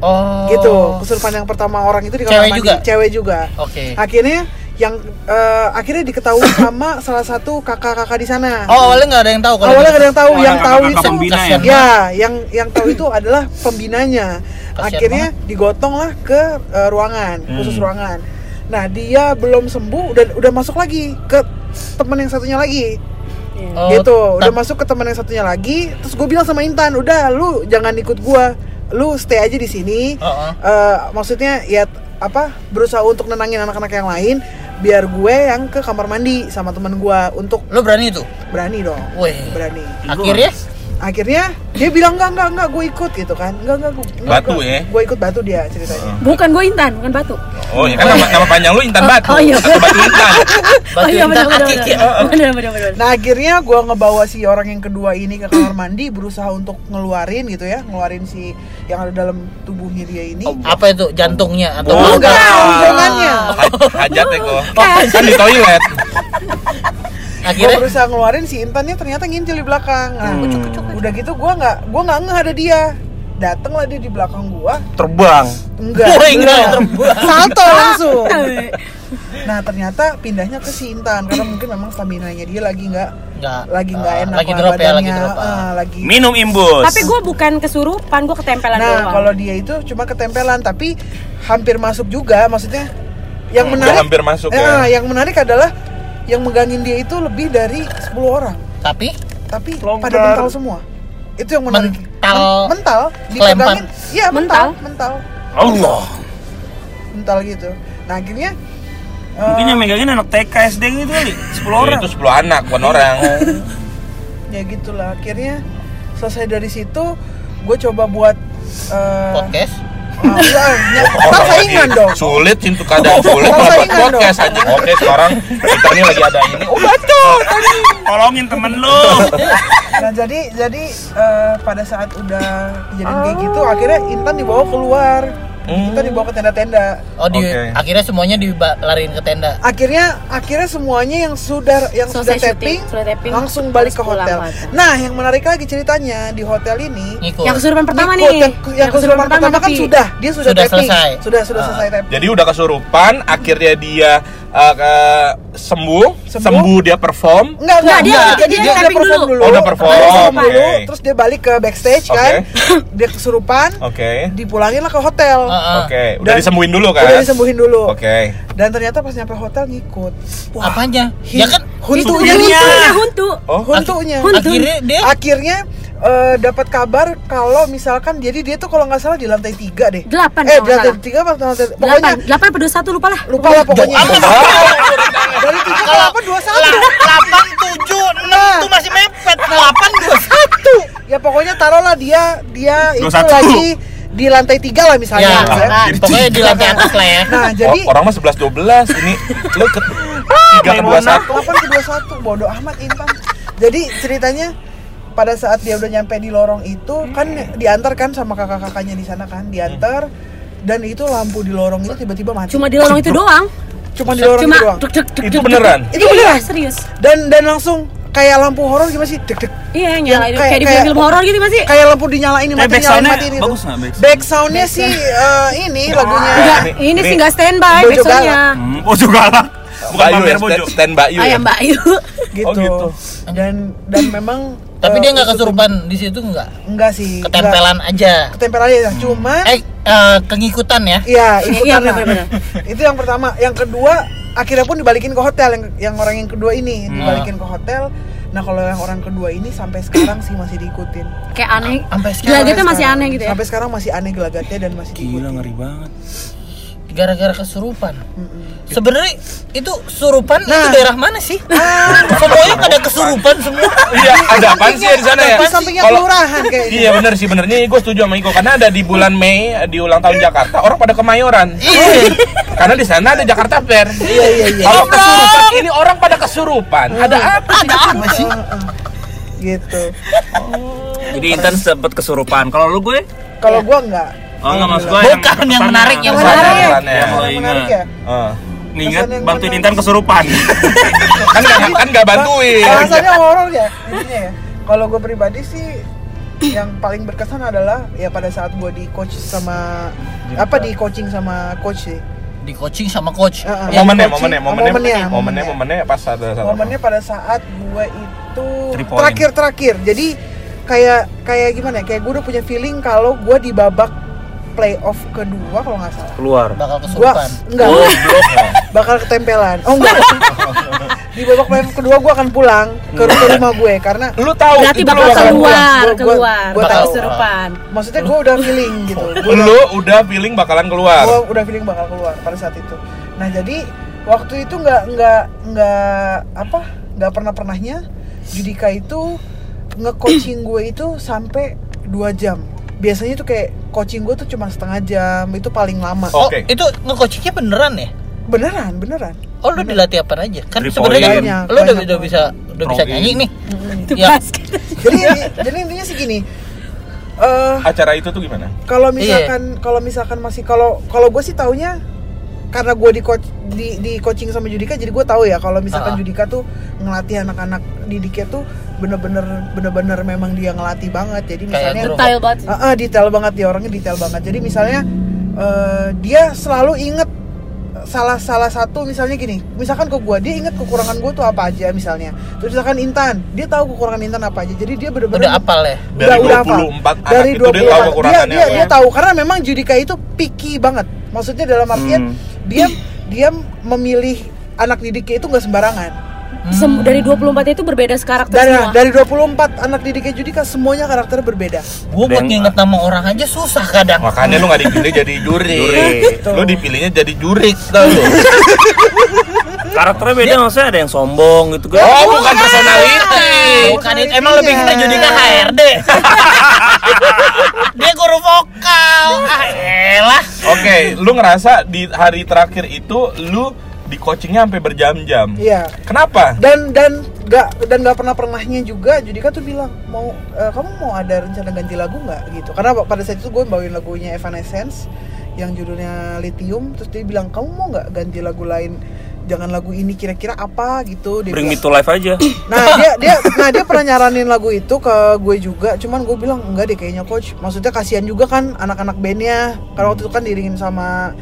Oh.
gitu. Kesurupan yang pertama orang itu di kamar
Cewek
mandi.
juga?
Cewek juga.
Oke.
Akhirnya yang eh, akhirnya diketahui sama salah satu kakak-kakak di sana.
Oh awalnya nggak ada yang tahu kalau.
Awalnya
gitu.
nggak ada yang tahu,
Oh,
yang
ada
tahu
kakak
itu
pembina ya?
Ya, yang yang tahu itu adalah pembinanya.
Kasian
Akhirnya digotong lah ke eh, ruangan, khusus ruangan. Nah, dia belum sembuh udah udah masuk lagi ke teman yang satunya lagi.
Oh,
gitu, udah
ta-
masuk ke teman yang satunya lagi, terus gue bilang sama Intan, "Udah, lu jangan ikut gua. Lu stay aja di sini."
Heeh.
Eh, maksudnya ya t- apa? Berusaha untuk nenangin anak-anak yang lain biar gue yang ke kamar mandi sama teman gue untuk
Lo berani itu?
berani dong.
Wih.
Berani
Akhirnya?
akhirnya dia bilang enggak enggak enggak gue ikut gitu kan enggak enggak gue
Batu ya?
gue ikut batu dia ceritanya
Bukan gue Intan, bukan Batu.
Oh iya kan nama, nama panjang lu Intan Batu.
oh, iya.
Atau Batu Intan.
Batu Intan Aki, Ki.
Oh, Bener bener bener.
nah akhirnya gue ngebawa si orang yang kedua ini ke kamar mandi berusaha untuk ngeluarin gitu ya ngeluarin si yang ada dalam tubuhnya dia ini
Apa itu jantungnya atau?
Oh, enggak hubungannya
Haj- Hajat ya kok. Kan di toilet.
gue
Akhirnya?
berusaha ngeluarin si intannya ternyata ngincil di belakang nah
Hmm.
udah gitu gue nggak gue nggak ngeh ada dia datanglah dia di belakang gue
Terbang.
enggak
Woi, enggak,
beneran.
terbang.
salto langsung Nah ternyata pindahnya ke si Intan karena mungkin memang stamina nya dia lagi nggak
Nggak.
lagi nggak
Ah,
enak
lagi
lah
drop ya, lagi
badannya,
drop, ah.
ah, lagi.
Minum imbus.
Tapi gue bukan kesurupan, gue ketempelan
Nah
doang.
kalau dia itu cuma ketempelan tapi hampir masuk juga maksudnya yang
Hmm,
menarik
hampir masuk
Eh,
ya.
yang menarik adalah yang megangin dia itu lebih dari 10 orang
Tapi?
tapi
Longgar.
pada mental semua itu yang menarik
Mental.
Men- mental
Kelempar.
dipegangin iya mental mental
Allah.
mental gitu nah akhirnya eh,
mungkin yang megangin anak TK SD gitu kali 10 orang
Itu 10 anak, bukan orang.
ya gitulah akhirnya selesai dari situ gue coba buat eh,
Podcast?
ah, enggak, ya,
Oh,
ntar saingan
iya.
dong
Sulit cintu keadaan sulit
Kalau
kalau buat
saingan
podcast anjing. Oke, sekarang kita ini lagi ada ini. Oh,
tolongin temen lu
nah jadi jadi eh, pada saat udah kejadian kayak gitu akhirnya Intan dibawa keluar Intan dibawa ke tenda-tenda
Oh di
Oke.
akhirnya semuanya dilariin ke tenda.
akhirnya akhirnya semuanya yang sudah yang
Selesai syuting,
sudah tapping,
sudah tapping,
langsung balik ke
terus pulang
hotel
ke hotel.
nah yang menarik lagi ceritanya di hotel ini
Ngikut.
yang kesurupan pertama
Ngikut,
nih.
yang, yang kesurupan pertama, kan
Novi.
sudah dia sudah,
Sudah
tapping
selesai.
sudah sudah
Ah.
selesai tapping
Jadi udah kesurupan, akhirnya dia eh, ke- sembuh, sembuh,
Sembuh.
dia perform.
Enggak, enggak,
Enggak, dia-
enggak.
dia tapping
perform
dulu.
Oh, udah perform,
Dia dulu,
oke.
terus dia balik ke backstage
Oke.
kan. Dia kesurupan,
Oke.
dipulangin lah ke hotel.
Heeh.
Oke, udah
Ah. Dan-
disembuhin dulu kan?
Udah disembuhin dulu.
Oke.
Dan ternyata pas nyampe hotel ngikut.
Apanya?
Hi-
Ya kan
huntunya.
Huntunya, huntu.
Oh,
Huntunya.
Huntu.
akhirnya dia
Akhirnya eh, dapat kabar kalau misalkan jadi dia tuh kalau nggak salah di lantai tiga deh.
Delapan, kalau
Eh, di lantai
nggak
tiga apa lantai
Delapan,
Pokoknya
delapan apa dua satu lupa lah.
lupa lah pokoknya. Dari tiga ke apa dua satu.
delapan tujuh enam tuh masih mepet delapan dua
satu ya pokoknya taruhlah dia dia itu
21.
lagi di lantai tiga lah misalnya
ya
gitu ya.
Jadi
pokoknya di lantai atas lah ya
nah jadi
Or- orang mah 11 12 ini lu ke 3 ke
nah,
21.
8 ke 21 bodoh amat Intan jadi ceritanya pada saat dia udah nyampe di lorong itu kan diantar kan sama kakak-kakaknya di sana kan diantar dan itu lampu di lorong itu tiba-tiba mati
Cuma di lorong itu doang.
Cuma di lorong
Cuma
itu doang
deg deg deg.
Itu
deg,
beneran?
deg.
Itu
Iya,
beneran?
serius.
dan dan langsung kayak lampu horor gimana sih deg-deg
Iya, yang
Yang
nyalain
kayak-
kayak di film
kayak-
film horor gitu masih.
kayak lampu dinyalain
Tapi
mati
back
nyalain
soundnya
matiin itu
bagus nggak back sound?
back soundnya sih eh, ini lagunya
Enggak, ini
ini-
sih enggak standby
Bojo
besoknya.
Hmm, Bojo galak. Bukan
Bayu
pamer
ya,
bojo.
stand, stand Bayu
Ayam
ya.
Oh, Mbak Ayu.
gitu.
Oh, gitu.
Dan dan memang
tapi
eh,
dia nggak
untuk-
kesurupan di situ nggak
Enggak sih. enggak. Iya.
ketempelan aja
Ketempelan aja cuman
eh eh, kengikutan ya
ya
Iya,
ikutan lah.
benar-benar.
Itu yang pertama, yang kedua akhirnya pun dibalikin ke hotel yang yang orang yang kedua ini
Hmm.
dibalikin ke hotel. Nah, kalau yang orang kedua ini sampai sekarang sih masih diikutin.
Kayak aneh.
sampai sekarang
Gelagatnya
Sampai
masih
sekarang-
aneh gitu ya.
Sampai sekarang masih aneh gelagatnya dan masih
Gila
diikutin.
ngeri banget.
gara-gara kesurupan sebenarnya itu surupan itu
Nah.
daerah mana sih semuanya pada kesurupan semua
Iya, ada apaan sih ya di sana ya?
Di sampingnya
Kalau-
kelurahan kayaknya.
Iya bener sih bener nih gue setuju sama Iko karena ada di bulan Mei di ulang tahun Jakarta orang pada kemayoran
Iya.
karena di sana ada Jakarta Fair. Iya iya iya. Kalau kesurupan ini orang pada kesurupan.
Iya.
Ada apa?
ada apa sih
Gitu.
Jadi Intan sempat kesurupan. Kalau lu gue?
Kalau gua enggak.
Oh enggak mas gue.
bukan yang menarik yang menarik
Kesurupannya.
Ya, kalau
Yang
ingat.
menarik ya.
Eh,
Nih ingat
Kesan yang
bantuin
menarik.
Intan kesurupan.
Kan nggak kan nggak
Iya,
bantuin.
Alasannya horor ya intinya ya. Kalau gue pribadi sih yang paling berkesan adalah ya pada saat gue di coach sama apa di coaching sama coach sih.
di coaching sama coach Ya,
Heeh.
Yang
Momennya,
coaching-
momennya,
Iya,
momennya,
Momennya,
momennya,
momennya.
momennya pas ada satu.
Momennya pada saat gue itu
Three point.
terakhir-terakhir. Jadi kayak kayak gimana? ya, Kayak gue udah punya feeling kalau gue di babak playoff kedua kalau nggak salah.
Keluar.
bakal
Gue
kesurupan
enggak
Oh, ya?
bakal ketempelan. Oh enggak. di babak playoff kedua gue akan pulang ke rumah
Hmm.
rumah gue karena
Lu tahu
Berarti
itu lu
bakal
gua-
akan-
keluar,
gua- gua-
keluar.
gua
Bakal
tahu.
kesurupan.
maksudnya gue udah feeling gitu. Gua udah-
lu udah feeling bakalan keluar.
gue udah feeling bakal keluar pada saat itu nah jadi waktu itu nggak nggak nggak apa nggak pernah pernahnya Judika itu nge-coaching gue itu sampai dua jam biasanya tuh kayak coaching gue tuh cuma setengah jam itu paling lama
Oh.
oh
Oke.
itu nge-coachingnya beneran ya
beneran beneran
Oh lu dilatih apa aja? Kan
Three
sebenarnya lu udah,
point. Banyak,
udah
banyak.
bisa udah bisa
Throwing.
nyanyi nih.
Itu
Ya.
basket.
jadi jadi intinya sih gini eh
Acara itu tuh gimana?
kalau
Iya.
misalkan kalau misalkan masih kalau kalau gue sih taunya karena gue di coach di, di coaching sama Judika jadi gue tahu ya kalau misalkan
Ah.
Judika tuh ngelatih anak-anak didiknya tuh bener-bener bener-bener memang dia ngelatih banget jadi
Kayak
misalnya
grup.
Style banget.
Ah, ah, detail banget dia orangnya detail banget jadi misalnya eh, dia selalu inget salah salah satu misalnya gini misalkan ke gua dia inget kekurangan gue tuh apa aja misalnya terus misalkan Intan dia tahu kekurangan Intan apa aja jadi dia bener-bener
Udah apal ya?
Dari
udah, udah
24
apa?
anak itu dia tahu kekurangannya
dia,
apa
dia
ya?
tahu karena memang Judika itu picky banget maksudnya dalam artian
Hmm.
dia dia memilih anak didiknya itu nggak sembarangan
Sem- dari 24 itu berbeda karakter
dari
semua.
dari 24 anak didiknya Judika semuanya karakternya berbeda
Gua buat
Deng-
nginget nama orang aja susah kadang.
Makanya lu nggak dipilih jadi juri.
Juri.
Lu dipilihnya jadi jurik tau lu.
Karakternya beda maksudnya ada yang sombong gitu kan.
Oh, bukan personality.
Bukan itu emang lebih kita jadi ke HRD. Dia guru vokal. Ah, elah.
Oke, lu ngerasa di hari terakhir itu lu di coachingnya sampai berjam-jam.
iya
Kenapa?
dan dan nggak dan nggak pernah pernahnya juga Judika tuh bilang mau eh, kamu mau ada rencana ganti lagu nggak gitu karena pada saat itu gue bawain lagunya Evanescence yang judulnya Lithium terus dia bilang kamu mau nggak ganti lagu lain jangan lagu ini kira-kira apa gitu dia
Bring me
bilang.
to life aja.
nah dia dia nah dia pernah nyaranin lagu itu ke gue juga cuman gue bilang enggak deh kayaknya coach maksudnya kasihan juga kan anak-anak bandnya karena waktu itu kan diringin sama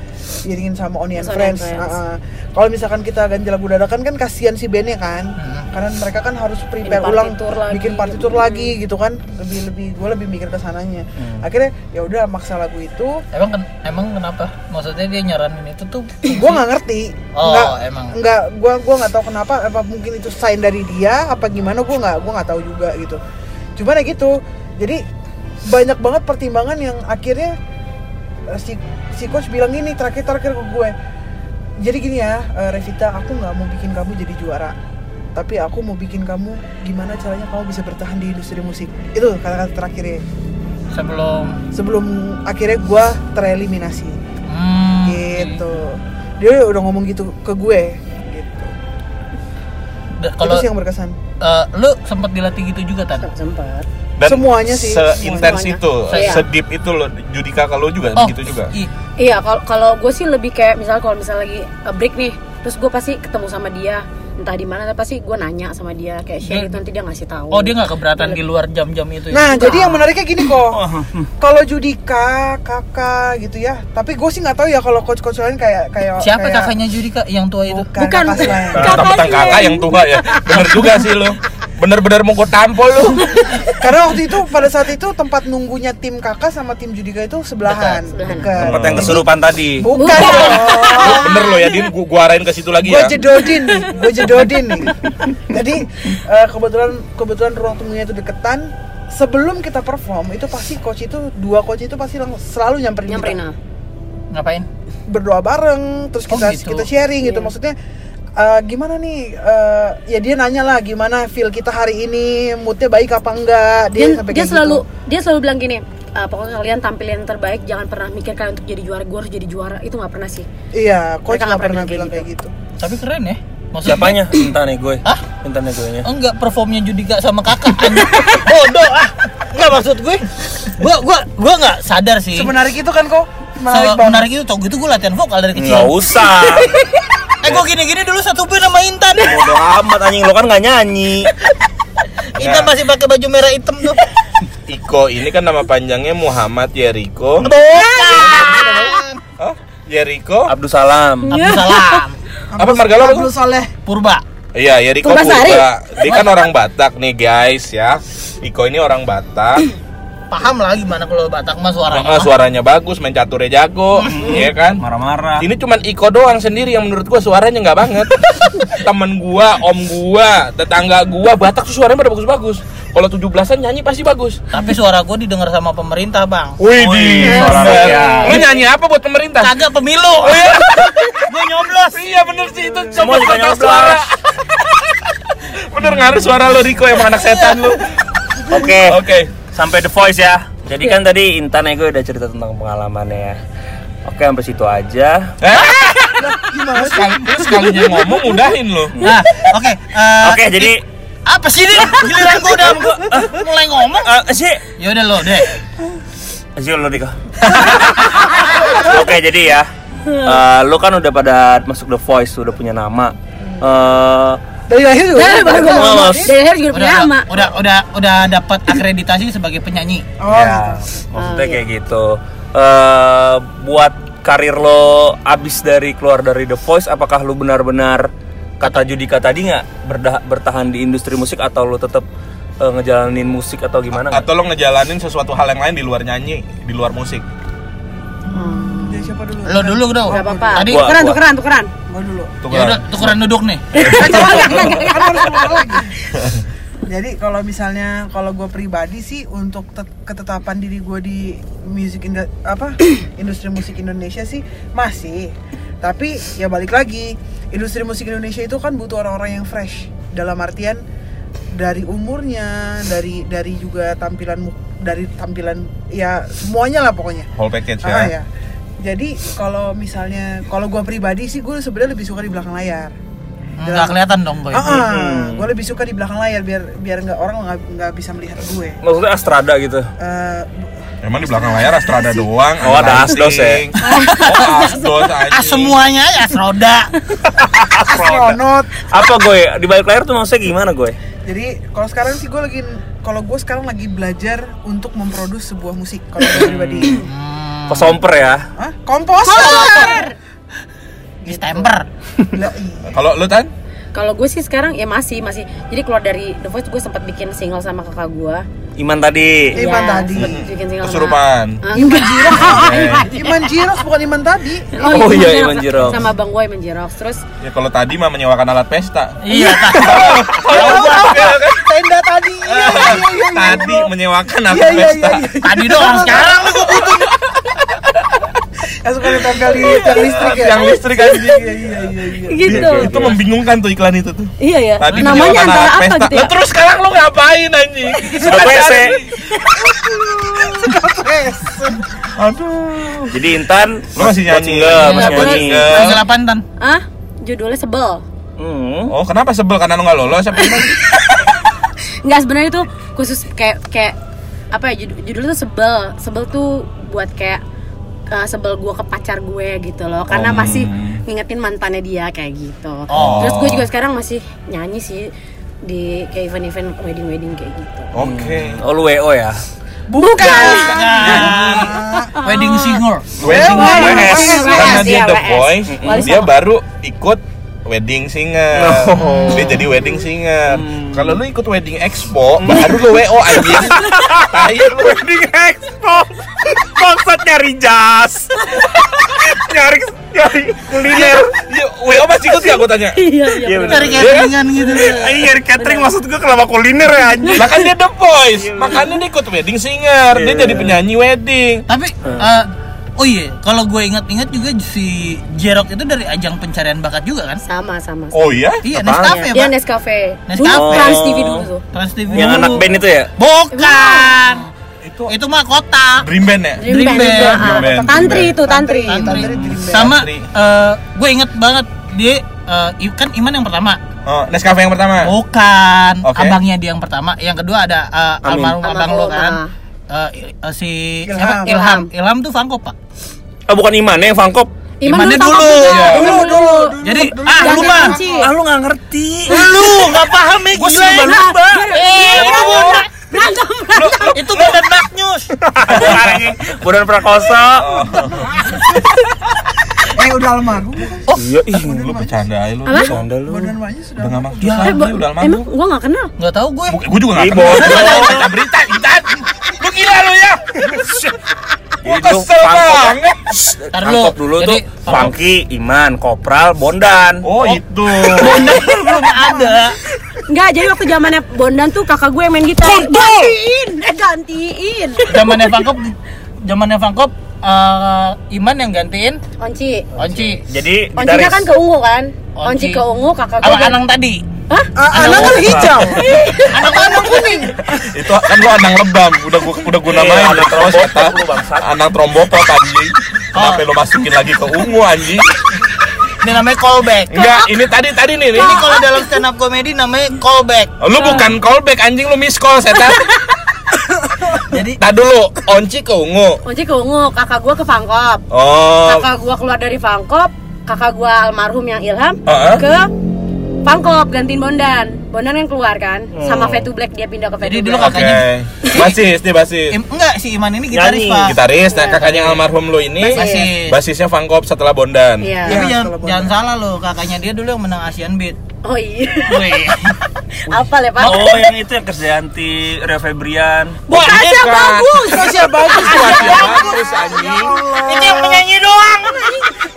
diringin sama Oni and
Sama Oni and
Friends,
Friends.
Ah, ah. kalau misalkan kita ganti lagu dadakan kan kasihan si bandnya kan karena mereka kan harus prepare
Bikin
ulang
partitur lagi.
bikin partitur lagi gitu kan lebih lebih gue lebih mikir ke sananya akhirnya ya udah maksa lagu itu
Emang ken- emang kenapa? Maksudnya dia nyaranin itu tuh
gue nggak ngerti
Oh,
nggak
emang.
nggak gue gua nggak tahu kenapa apa mungkin itu sign dari dia apa gimana gue nggak gue nggak tahu juga gitu cuman ya gitu jadi banyak banget pertimbangan yang akhirnya eh, si si coach bilang ini terakhir terakhir ke gue jadi gini ya eh, Revita aku nggak mau bikin kamu jadi juara tapi aku mau bikin kamu gimana caranya kamu bisa bertahan di industri musik itu kata-kata terakhirnya
sebelum
sebelum akhirnya gue tereliminasi
hmm,
gitu dia udah ngomong gitu ke gue gitu
Da- Kalau
itu sih yang berkesan
eh, lu sempat dilatih gitu juga tan?
Sempet.
Dan
Semuanya sih,
seintens
semuanya.
itu,
Iya.
sedip itu loh Judika kalau juga begitu gitu juga.
Oh, i-
Iya, kalau kalau gue sih lebih kayak misalnya kalau misalnya lagi uh, break nih, terus gue pasti ketemu sama dia entah di mana tapi pasti gue nanya sama dia kayak
Dia-
share gitu nanti dia ngasih tahu.
oh dia nggak keberatan di luar jam-jam itu ya?
nah jadi yang menariknya gini
Oh,
kok
hmm.
kalau Judika kakak gitu ya tapi gue sih nggak tahu ya kalau coach-coach lain kayak kayak
Siapa
kayak-
kakaknya Judika yang tua itu?
bukan,
Bukan.
kakak selain.
Nah, Tentang kakak yang tua ya, bener juga sih lo. Bener-bener mau gue tampol lo.
karena waktu itu pada saat itu tempat nunggunya tim kakak sama tim Judika itu sebelahan
Dekat, sebelahan.
Dekat.
Tempat yang kesurupan tadi.
bukan dong.
bener lo ya, Din, gue arahin ke situ lagi
Iya.
gue
ya.
jedodin nih, gue jedodin nih. Jadi eh, kebetulan kebetulan ruang tunggunya itu deketan. Sebelum kita perform itu pasti coach itu dua coach itu pasti lang- selalu nyamperin,
yang
kita.
Prina.
Ngapain?
berdoa bareng, terus
Oh,
kita
gitu.
kita sharing gitu
Iya.
maksudnya. eh, gimana nih eh, ya dia nanya lah gimana feel kita hari ini moodnya baik apa enggak
Dia,
sampai
dia
kayak
selalu
gitu.
dia selalu bilang gini, "Ah, pokoknya kalian tampil yang terbaik, jangan pernah mikir kalian untuk jadi juara, gue harus jadi juara. Itu nggak pernah sih.
iya
Mereka
coach nggak
nggak pernah
pernah bilang
bilang
kayak gitu
Tapi keren ya. Maksudnya,
Siapanya? Minta nih gue.
Hah?
Minta nih gue nya.
Enggak performnya Judika sama kakak. anjing. Bodoh ah. Enggak maksud gue. Gua gua gua enggak sadar sih.
semenarik itu kan kok menarik
Sama-
banget
Iya. menarik itu tau gitu gue latihan vokal dari kecil.
Nggak usah.
Eh gue gini-gini dulu satu band sama Intan.
Bodo amat anjing lo kan nggak nyanyi.
Intan masih pakai baju merah hitam tuh.
Iko ini kan nama panjangnya Muhammad Yeriko.
Bukan.
Oh, Yeriko.
Abdul Salam.
Ya.
Abdul Salam.
Apa marga lo?
Abdul Saleh
Purba.
Iya, ya Riko
Purbasari.
Purba. Dia kan orang Batak nih guys ya. Iko ini orang Batak.
Paham lah gimana kalau Batak mah suaranya.
Eh, suaranya bagus, main caturnya jago, ya kan?
Marah-marah.
Ini cuman Iko doang sendiri yang menurut gua suaranya nggak banget. Temen gua, om gua, tetangga gua Batak tuh suaranya pada bagus-bagus. Kalau 17-an nyanyi pasti bagus.
Tapi suara gue didengar sama pemerintah, Bang.
Wih,
suara rakyat.
Lu nyanyi apa buat pemerintah?
Kagak pemilu.
Gue nyoblos. Iya bener sih itu coba
Semua juga
kontrol
nyoblos.
suara. bener ngaruh suara lu Riko emang anak setan lu.
Oke.
Oke.
Sampai The Voice ya. Jadi kan tadi Intan ego udah cerita tentang pengalamannya ya. Oke, sampai situ aja.
Terus kal- terus sekalinya ngomong udahin lo
Nah, oke. eh,
Oke, jadi
apa sih ini? Giliran gue udah mulai ngomong.
eh sih
Ya udah lo deh.
Sih lo Dika. Oke, jadi ya.
Hmm.
Eh, lo kan udah pada masuk The Voice, udah punya nama. Eh,
dari lahir juga
Nah, baru gue
Mas.
ngomong. Dari akhir juga punya
Udah
nama.
udah udah udah dapat akreditasi sebagai penyanyi.
oh
ya,
gitu.
maksudnya kayak gitu. Eh, buat karir lo abis dari keluar dari The Voice, apakah lo benar-benar kata Judika tadi nggak berda- bertahan di industri musik atau lo tetap eh, ngejalanin musik atau gimana? nggak?
atau lo ngejalanin sesuatu hal yang lain di luar nyanyi di luar musik
Jadi siapa dulu
Lo dulu dong.
Gak apa-apa.
oh, Tadi
Gua-
Tukeran, tukeran, tukeran.
gue dulu
ya udah
Tukeran.
kan.
tukeran duduk nih.
Coba enggak, enggak, enggak.
Kan harus ngomong lagi. Jadi kalau misalnya kalau gue pribadi sih untuk tet- ketetapan diri gue di music indu- apa industri musik Indonesia sih masih. Tapi ya balik lagi industri musik Indonesia itu kan butuh orang-orang yang fresh dalam artian dari umurnya, dari dari juga tampilan mu- dari tampilan ya semuanya lah pokoknya.
whole package ya,
Ah, ya. Jadi kalau misalnya kalau gue pribadi sih gue sebenarnya lebih suka di belakang layar.
Enggak kelihatan dong gue.
Ah, gue lebih suka di belakang layar biar biar nggak orang nggak nggak bisa melihat gue.
Maksudnya Astrada gitu.
Eh, bu-
Emang di belakang layar Astrada doang.
Oh, ada
lighting.
Asdos ya?
Oh, Asdos aja.
Ah semuanya ya roda.
astronot
Apa gue? Di balik layar tuh maksudnya gimana gue?
jadi kalau sekarang sih gue lagi kalau gue sekarang lagi belajar untuk memproduksi sebuah musik kalau gue pribadi
Hmm.
Kesomper ya.
Hah? komposer
Distemper.
Lah, iya.
Kalau lu Tan?
Kalau gue sih sekarang ya masih masih. Jadi keluar dari The Voice gue sempat bikin single sama kakak gue.
Iman tadi.
Iman
Ya,
tadi.
sempet bikin single sama-
Kesurupan.
Ah,
Iman
Eh,
Jiros
Oke.
Iman Jiros bukan Iman tadi
Oh iya,
Jerok.
Iman Jerok.
Sama Bang Gue Iman Jerok. Terus
Ya kalau tadi mah menyewakan alat pesta.
Iya, Kak.
tenda tadi Iya, iya, iya, iya, iya,
Ah, Tadi
bro.
menyewakan
iya
alat
iya
pesta.
iya iya.
tadi doang sekarang lu gua butuh.
yang suka ditempel di tiang listrik ya
Tiang listrik aja.
iya iya iya iya
gitu.
Itu membingungkan tuh iklan itu tuh.
Iya ya.
Tadi
Namanya
menyewakan
antara
alat
apa
pesta.
gitu ya?
Lah, terus sekarang lu ngapain anjing?
Suka WC.
Wes.
Aduh.
Jadi Intan
Lu masih
buat
nyanyi.
single,
Iya,
masih
boleh.
nyanyi.
Masih delapan tan.
Ah, judulnya sebel.
Hmm.
Oh, kenapa sebel karena lu nggak lolos? Apa emang?
Enggak sebenarnya itu khusus kayak kayak apa ya judul, judulnya tuh sebel. Sebel tuh buat kayak eh, sebel gue ke pacar gue gitu loh karena
Oh.
masih ngingetin mantannya dia kayak gitu
Oh.
terus gue juga sekarang masih nyanyi sih di kayak event-event wedding-wedding kayak gitu
Oke.
Oh lu WO ya? Ah.
bukan
Iya. Wedding singer.
Wedding
WS.
WS. Karena
WS,
dia
iya,
The
WS.
Voice,
Wali
dia
Songo.
baru ikut wedding singer. Dia jadi wedding singer. Kalau lu ikut wedding expo, baru lu WO anjing. Tai lu.
Wedding Expo. Bangsat nyari jas. nyari nyari kuliner.
Ya, WO masih ikut gak gue tanya?
iya
Iya benar.
Cari cateringan gitu.
Ini nyari Iya, catering maksud gue kenapa kuliner ya anjing.
Lah kan dia The Voice,
Iya.
makanya dia ikut wedding singer. Dia
Iya.
jadi penyanyi wedding.
Tapi eh, oh iya, kalau gue ingat-ingat juga si Jerok itu dari ajang pencarian bakat juga kan?
sama sama, sama.
Oh iya?
Iya,
Apaan?
Nescafe,
dia
Pak.
Nescafe
Nescafe.
dulu Trans TV dulu tuh
Trans TV.
Yang
dulu.
anak band itu ya?
Bukan.
Itu
Itu mah kotak.
Dream Band ya?
Dream,
Dream
Band,
Band.
juga, ah.
Dream Band,
Tantri
Dream
itu Iya, Tantri.
Tantri. Dream Band.
Sama
Tantri.
eh, gue inget banget dia eh, I- kan Iman yang pertama.
Oh, Nescafe yang pertama.
Bukan.
Oke.
Abangnya dia yang pertama. Yang kedua ada eh,
Amin.
almarhum abang lo
Almarhum,
kan.
ah.
Eh, i- eh, si
Ilham.
siapa? Ilham. Ilham tuh Fangko pak.
Ah bukan Iman yang Fangkop.
Iman
Imannya
dulu, sama
dulu.
juga.
Iya.
Dulu, dulu.
Jadi ah
Jangan
lu mah.
kunci.
Ah lu nggak ngerti.
Lu nggak paham ya
Gua
gila.
suka
Nah,
lumba.
Eh, lu bodoh.
Berantem,
Itu bukan Dark News.
Budan prakosa.
eh udah almarhum
Iya ih.
Lu bercanda aja lu.
Apa?
Bercanda lu.
bukan namanya sudah
Udah ngambang
Ya,
susah,
Eh,
dia
bo-
udah
emang
almarhum.
gua gak kenal.
Nggak tahu gue.
Gue juga gak
Ih, bodoh.
kenal Baca berita, Intan Lu gila lu ya Gue kesel banget
Ntar dulu.
Fangkop dulu tuh
Jadi,
Fangki, Iman, Kopral, Bondan.
Oh itu
Bondan tuh belum ada.
Enggak, jadi waktu zamannya Bondan tuh kakak gue yang main gitar. Gantiin, eh gantiin.
Zamannya Fangkop, zamannya Fangkop eh, Iman yang gantiin
Onci.
Onci.
Jadi
Oncinya
gitaris.
kan ke Ungu kan? Onci ke Ungu, kakak gue.
Apa
ganti-
Anang tadi?
Ah, anak kan hijau
Anang kan Anang kuning.
Itu kan lu anang lebam Udah gua, udah gua namain
Iya,
udah terus
anang trombopop
kata
lu, bangsat.
Anang trombopop anjing Kenapa lu masukin lagi ke ungu anjing
Ini namanya callback.
Enggak ini tadi tadi nih ini
Ini kalau dalam stand up comedy namanya callback.
Lu bukan callback anjing lu miss call setan
Jadi
Tadi dulu onci ke ungu
Onci ke Ungu, kakak gue ke Fangkop.
Oh
Kakak gue keluar dari Fangkop, kakak gue almarhum yang Ilham
Uh-uh.
ke Fangkop gantiin Bondan. Bondan yang keluar kan sama Fatu Black dia pindah ke Fatu
Jadi dulu
Black.
Oke Basis nih basis
Im- enggak si Iman ini Iya. gitaris,
Nyanyi,
Pak.
Gitaris nah kakaknya almarhum lu ini
Basis.
Basisnya Fangkop setelah Bondan
Iya.
Tapi
Ya,
jangan,
kalau
jangan salah loh, kakaknya dia dulu yang menang Asian Beat.
Oh iya.
Wih.
Apa ya, Pak?
Oh yang itu yang kerjaanti Rio Febrian.
Bukannya Iya, bagus
Tasya bagus
Bukan yang bagus anjing.
Ini yang penyanyi doang.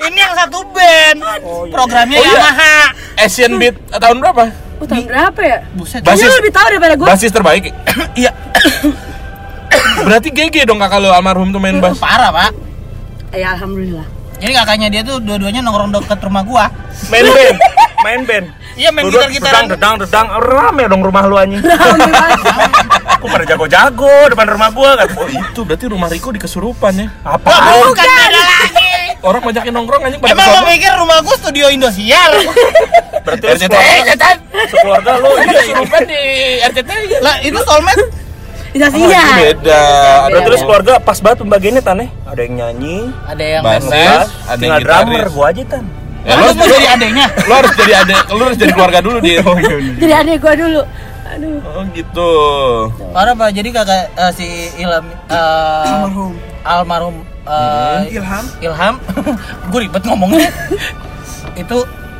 Ini yang satu band. Programnya
Oh, iya.
Yamaha.
Asian Beat eh, tahun berapa?
Oh, tahun berapa ya?
Buset.
Basis-
Basis, lu lebih tahu daripada gue.
Basis terbaik.
Iya.
Berarti GG dong kakak lo almarhum tuh main bass.
Parah, Pak.
Ya alhamdulillah.
Jadi kakaknya dia tuh dua-duanya nongkrong deket rumah gua.
Main band. Main band.
Iya main
Duduk, dedang,
gitar-gitaran.
dedang, dedang, rame dong rumah lu anjing.
Alhamdulillah.
Aku pada jago-jago depan rumah gua kan.
Oh, itu berarti rumah Riko di kesurupan ya.
Apa?
Wah, bukan beda lagi.
Orang banyakin nongkrong anjing pada
Emang lo
kesono.
pikir rumah gua studio Indosiar?
Berarti lu
RCTI,
iya,
sekeluarga, sekeluarga lu Iya, ini
kesurupan di RCTI.
lah itu soulmate
Oh, iya.
Jelasinnya.
beda.
Terus,
Ada
terus keluarga pas banget pembagiannya tan eh. Ada yang nyanyi,
Ada yang
Basis,
bass,
ada yang
tinggal drummer
gitaris.
gua aja tan.
Ya, lo
Lu
harus
mau
jadi
jadi adeknya?
Lo harus jadi ada, lo harus jadi keluarga dulu dia.
Jadi adek gua dulu. Aduh.
iya, Oh gitu.
Parah pak, jadi kakak eh, si Ilham eh,
Almarhum.
almarhum
Hmm.
eh,
Ilham.
Ilham, gue ribet ngomongnya. itu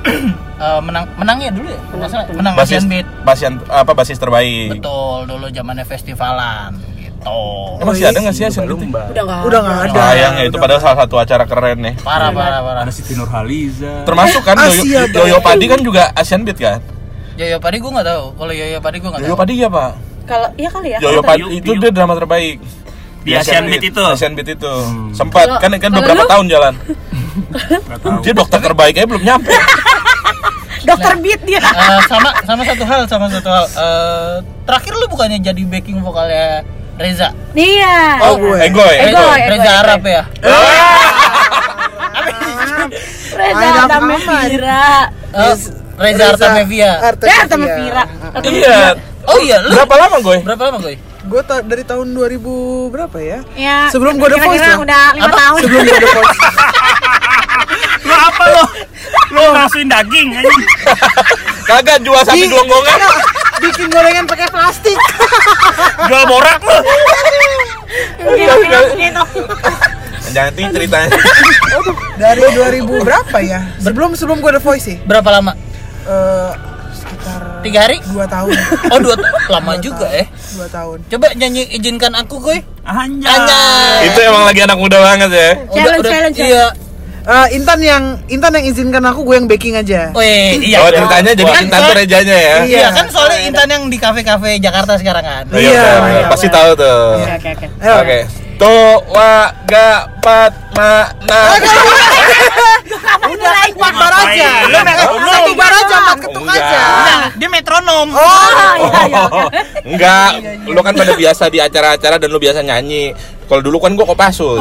eh, menang menangnya dulu ya, Nggak salah, menang
Basis,
Asian Beat.
basian apa basis terbaik.
Betul, dulu zamannya festivalan gitu.
Emang sih ada nggak sih Asian Beat?
Udah enggak.
Ah, Udah nggak ada.
Sayang ya itu padahal salah satu acara keren nih.
Parah parah parah.
Ada Siti Nurhaliza.
Termasuk kan Yoyo,
Asia, Bang.
Yoyo Padi kan juga Asian Beat kan?
Yoyo Padi gue nggak tahu. Kalau Yoyo Padi gue nggak
Yoyo
tahu.
Padi ya pak?
Kalau iya kali ya.
Yoyo Padi
Yuk,
itu
yuk.
dia drama terbaik.
Di Asian Beat itu.
Asian Beat itu. Sempat
Kalau-
kan kan
kalau
beberapa
lu?
tahun jalan. Dia dokter terbaiknya belum nyampe.
Dokter Beat dia.
Eh, sama sama satu hal sama satu hal. Eh, terakhir lu bukannya jadi backing vokalnya Reza?
Iya.
Oh,
gue.
Egoy.
Egoy.
Reza,
Egoy,
Reza
Egoy.
Arab ya.
Reza
Adam
Damira.
Eh, Reza Artamevia.
Ya, sama Vira.
Iya.
Oh iya, lu
Berapa lama gue?
berapa lama gue?
Gue ta- dari tahun 2000 berapa ya?
Ya.
Sebelum gua ada
kira-kira
voice lah.
Udah 5 tahun.
Sebelum gue ada voice.
Lo apa lo? Lo ngasuin daging anjing.
Kagak jual sapi
Di-
gelonggongan.
Enggak, Bikin gorengan pakai plastik.
Jual borak lo.
Kira-kira gitu.
Jangan nanti ceritanya.
Dari 2000 berapa ya? Sebelum sebelum gue ada voice sih.
Berapa lama?
Eh, sekitar
Tiga hari?
2 tahun.
Oh dua lama
Dua
juga
tahun.
eh.
Dua tahun.
Coba nyanyi izinkan aku gue.
Anjay.
Anjay.
itu emang lagi anak muda banget ya.
Ya. Challenge, challenge,
Iya.
Eh, Intan yang Intan yang izinkan aku gue yang backing aja.
Weh, iya.
oh ceritanya jadi
Kan,
Intan tuh
soal-
rejanya ya.
Iya.
Iya kan soalnya Intan yang di kafe-kafe Jakarta sekarang kan.
Oh, iya,
Iya,
benar,
iya,
benar. pasti tahu tuh.
Oke, oke, oke.
Ayo.
Oke. Tuh wa ga pat ma na.
Udah naik empat bar aja.
Ngapain? Lu naik-
Eh, Satu bar aja, empat ketuk
Enggak.
aja.
Iya. Dia metronom.
Oh,
Oh, enggak, lu kan pada biasa di acara-acara dan lu biasa nyanyi. Kalau dulu kan gua kopassus.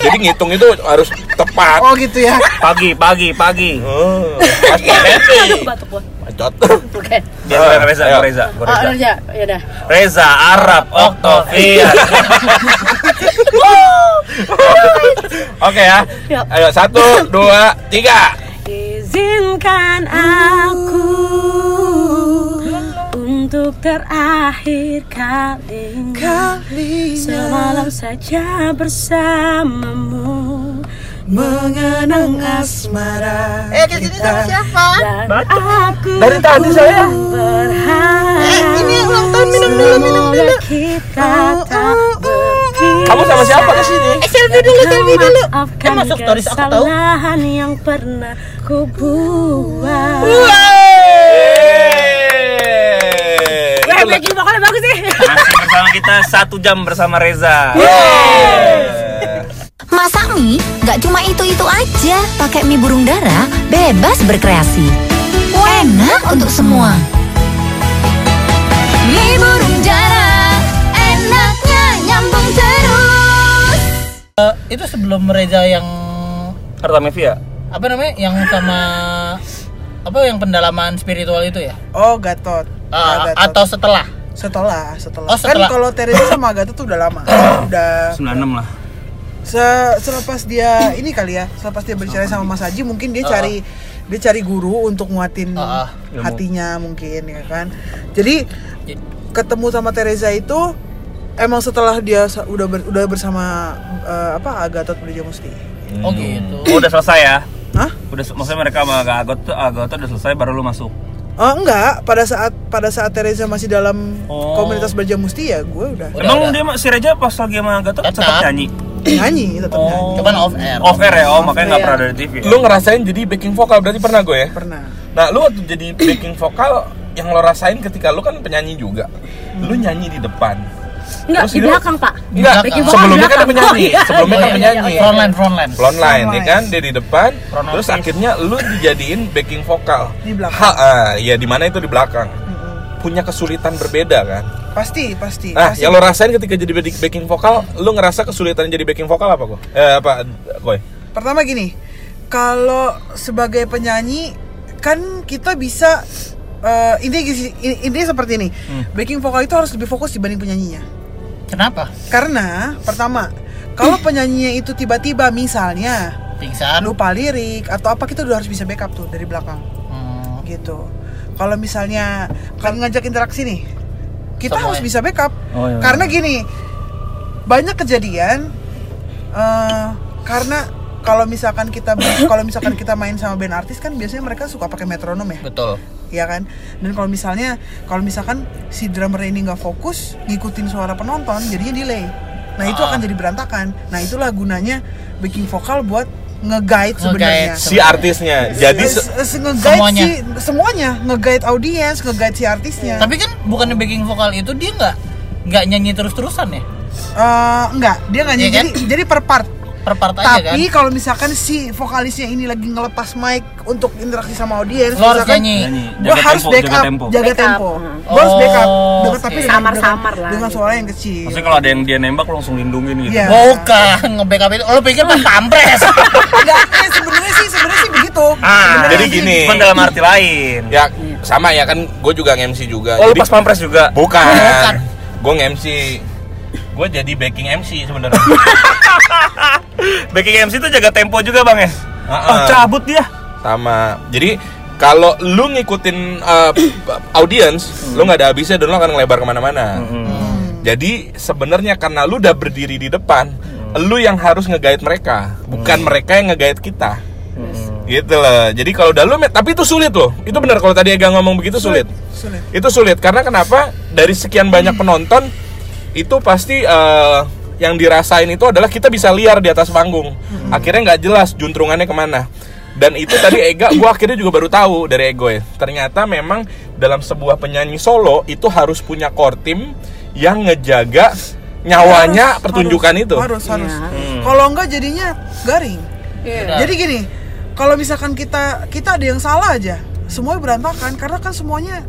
Jadi ngitung itu harus tepat.
iya. oh gitu ya.
Pagi, pagi, pagi.
Oh, pas
Iya,
Aduh,
pandemi.
batuk gua.
Bacot.
Oke.
Dia gua Reza,
Ayo.
gua Reza, gua
Oh,
Reza.
Reza. Ya udah.
Reza Arab Octavia.
Oke ya.
Yap.
Ayo satu, dua, tiga.
Izinkan aku untuk terakhir kalinya semalam saja bersamamu
Mengenang asmara.
Eh, kesini sama
iya.
siapa?
dan aku
Dari tadi saya.
berharap
Eh, Ini ulang tahun minum dulu, minum
semoga
dulu. Oh,
kita tak
Kamu sama siapa ke sini?
Eh, selfie dulu, selfie dulu.
Maafkan
Eh, masuk stories aku tahu.
kesalahan yang pernah kubuat
Iya.
Wah,
Yeay.
backing vokalnya bagus sih.
Masih bersama kita satu jam bersama Reza.
Masak mie nggak cuma itu-itu aja. Pakai mie burung dara, bebas berkreasi. Enak untuk semua. Mie burung dara, enaknya nyambung terus.
Eh, itu sebelum Reza yang
Artamevia.
apa namanya? Yang sama apa yang pendalaman spiritual itu ya?
Oh, Gatot.
Iya,
Eh,
Ah, Gatot.
atau setelah?
setelah, setelah.
Oh, setelah.
Kan kalau Teresa sama Gatot tuh udah lama. udah
96 lah.
Se- selepas dia ini kali ya, selepas dia bercerai sama Mas Haji, mungkin dia cari dia cari guru untuk nguatin
Ah, ah,
ilmu.
hatinya mungkin ya kan. Jadi ketemu sama Teresa itu emang setelah dia sa- udah ber- udah bersama eh, apa Agatot Brajamusti.
Oh
Hmm.
gitu.
Oh, udah selesai ya?
Hah?
Udah se- maksudnya mereka sama Kak Agot tuh Agot tuh udah selesai baru lu masuk.
Oh enggak, pada saat pada saat Teresa masih dalam
Oh.
komunitas Brajamusti ya gue udah
Udah,
Emang
udah.
dia si Reza pas lagi sama Agot tuh
Tetap.
tetap nyanyi.
nyanyi tetap nyanyi.
Cuman off air.
Off air ya, oh makanya nggak pernah ada di TV. ya?
Lu ngerasain jadi backing vokal berarti pernah gue ya?
Pernah.
Nah, lu waktu jadi backing vokal yang lo rasain ketika lu kan penyanyi juga. Lu
Hmm.
nyanyi di depan.
Enggak,
Terus
di
ini-
belakang, Pak.
Enggak,
Backing vokal
sebelumnya kan
belakang.
ada penyanyi.
Oh, iya.
Sebelumnya kan
Iya, iya,
penyanyi.
iya. Frontline, frontline.
Frontline, ya
Frontline.
kan? Dia di depan,
Frontline.
terus akhirnya lu dijadiin backing vokal.
Di belakang.
Ha, ah, ya di mana itu di belakang. Punya kesulitan berbeda kan?
Pasti, pasti.
Nah,
pasti.
yang lo rasain ketika jadi back- backing vokal, lu ngerasa kesulitan jadi backing vokal apa kok? Eh apa, Koy?
Pertama gini, kalau sebagai penyanyi kan kita bisa eh, intinya gini- intinya seperti ini. Backing vokal itu harus lebih fokus dibanding penyanyinya.
Kenapa?
Karena pertama, kalau penyanyinya itu tiba-tiba misalnya
Pingsan.
lupa lirik atau apa kita udah harus bisa backup tuh dari belakang
Hmm.
gitu. Kalau misalnya kan ngajak interaksi nih, kita
Sama
harus
ya.
bisa backup.
Oh, iya.
Karena gini, banyak kejadian eh, karena kalau misalkan kita kalau misalkan kita main sama band artis kan biasanya mereka suka pakai metronom ya
Betul.
ya kan dan kalau misalnya kalau misalkan si drummer ini nggak fokus ngikutin suara penonton jadinya delay nah itu
Ah.
akan jadi berantakan nah itulah gunanya backing vokal buat nge-guide
Nge-guide.
sebenarnya
si artisnya.
Iya,
Jadi Eh, se-
Eh, Se- se- nge-guide
Semuanya.
si semuanya nge-guide audiens nge-guide si artisnya
Tapi kan bukannya backing vokal itu dia nggak nggak nyanyi terus-terusan ya?
Eh, enggak dia nggak nyanyi
Iya kan?
jadi jadi per part
Per part aja kan?
tapi iya. kalau misalkan si vokalisnya ini lagi ngelepas mic untuk interaksi sama
Lo
audiens
harus
misalkan,
nyanyi.
Nyanyi.
gue
Jaga
harus
tempo,
back
jaga
up,
tempo.
jaga
Back
tempo,
up, mm.
gue harus back up,
Oh,
dengan tapi
oke.
dengan-
Samar-samar lah,
dengan
gitu.
suara yang kecil.
Maksudnya kalau ada yang dia nembak lo langsung lindungin gitu.
Iya.
Oh, Bukan nge-backup itu. Lo pikir pas pampres.
Enggak, eh, sebenarnya sih sebenarnya sih begitu.
Ah,
Sebenarnya
jadi
sih.
gini.
Cuman dalam arti lain.
iya.
ya sama ya kan gue juga MC juga.
Oh, lu
Jadi-
pas pampres juga.
bukan.
Bukan.
Gue MC. Gue jadi backing MC sebenarnya.
Backing MC tuh jaga tempo juga, Bang ya.
Ah, ah.
Oh, cabut dia.
sama jadi kalau lu ngikutin uh, audience lu nggak ada habisnya dan lu akan ngelebar kemana-mana jadi sebenarnya karena lu udah berdiri di depan lu yang harus ngegait mereka bukan mereka yang ngegait kita gitu loh jadi kalau udah lu met- tapi itu sulit loh itu benar kalau tadi Ega ngomong begitu sulit
Sulit.
itu sulit karena kenapa dari sekian banyak penonton itu pasti eh, yang dirasain itu adalah kita bisa liar di atas panggung
Hmm.
akhirnya nggak jelas juntrungannya kemana dan itu tadi Ega gue akhirnya juga baru tahu dari Ego ya ternyata memang dalam sebuah penyanyi solo itu harus punya core team yang ngejaga nyawanya
Harus,
pertunjukan
harus,
itu
Harus, harus.
Iya.
Kalau enggak jadinya garing.
Iya.
Jadi gini, kalau misalkan kita kita ada yang salah aja, semuanya berantakan karena kan semuanya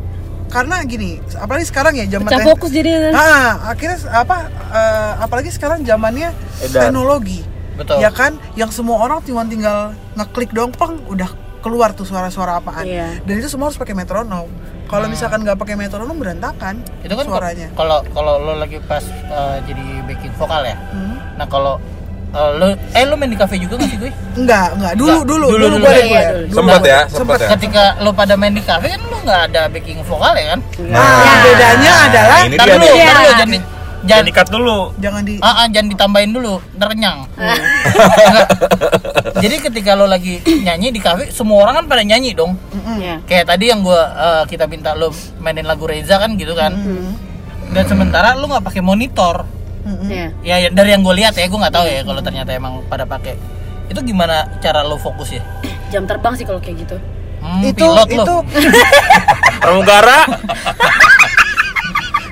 karena gini, apalagi sekarang ya zaman
Pecah
teh-
fokus jadi
Ah, akhirnya apa? eh, apalagi sekarang zamannya
Edan.
teknologi,
Betul.
ya kan? Yang semua orang cuma tinggal ngeklik doang, peng, udah keluar tuh suara-suara apaan.
Iya.
Dan itu semua harus pakai metronom. Kalau misalkan nggak pakai metronom berantakan
Nah. itu kan
suaranya.
kalau kalau lo lagi pas eh, jadi backing vokal ya.
Hmm.
Nah kalau eh, lo eh lo main di cafe juga nggak sih gue?
Enggak, enggak. Dulu,
Enggak.
dulu,
Dulu,
dulu,
dulu,
gue
iya,
ada
iya,
gue.
dulu.
Dulu
Sempet
gue.
ya, sempet ya.
Ketika lo pada main di cafe kan lo nggak ada backing vokal ya kan?
Nah, bedanya adalah
Nah, ini
Ntar
dia
dulu,
nih.
ntar
Iya.
dulu jangan di- jangan
Jadi cut dulu.
jangan di
Ah, ah, jangan ditambahin dulu, ntar kenyang. Enggak. Jadi ketika lo lagi nyanyi di kafe, semua orang kan pada nyanyi dong.
Iya.
Kayak tadi yang gua eh, kita minta lo mainin lagu Reza kan gitu kan.
Mm-hmm.
Dan sementara lo nggak pakai monitor.
Iya.
Ya ya, dari yang gue lihat ya, gue nggak tahu ya kalau ternyata emang pada pakai. Itu gimana cara lo fokus ya?
Jam terbang sih kalau kayak gitu.
Hmm,
itu
pilot lo.
itu
Pramugara.
Lu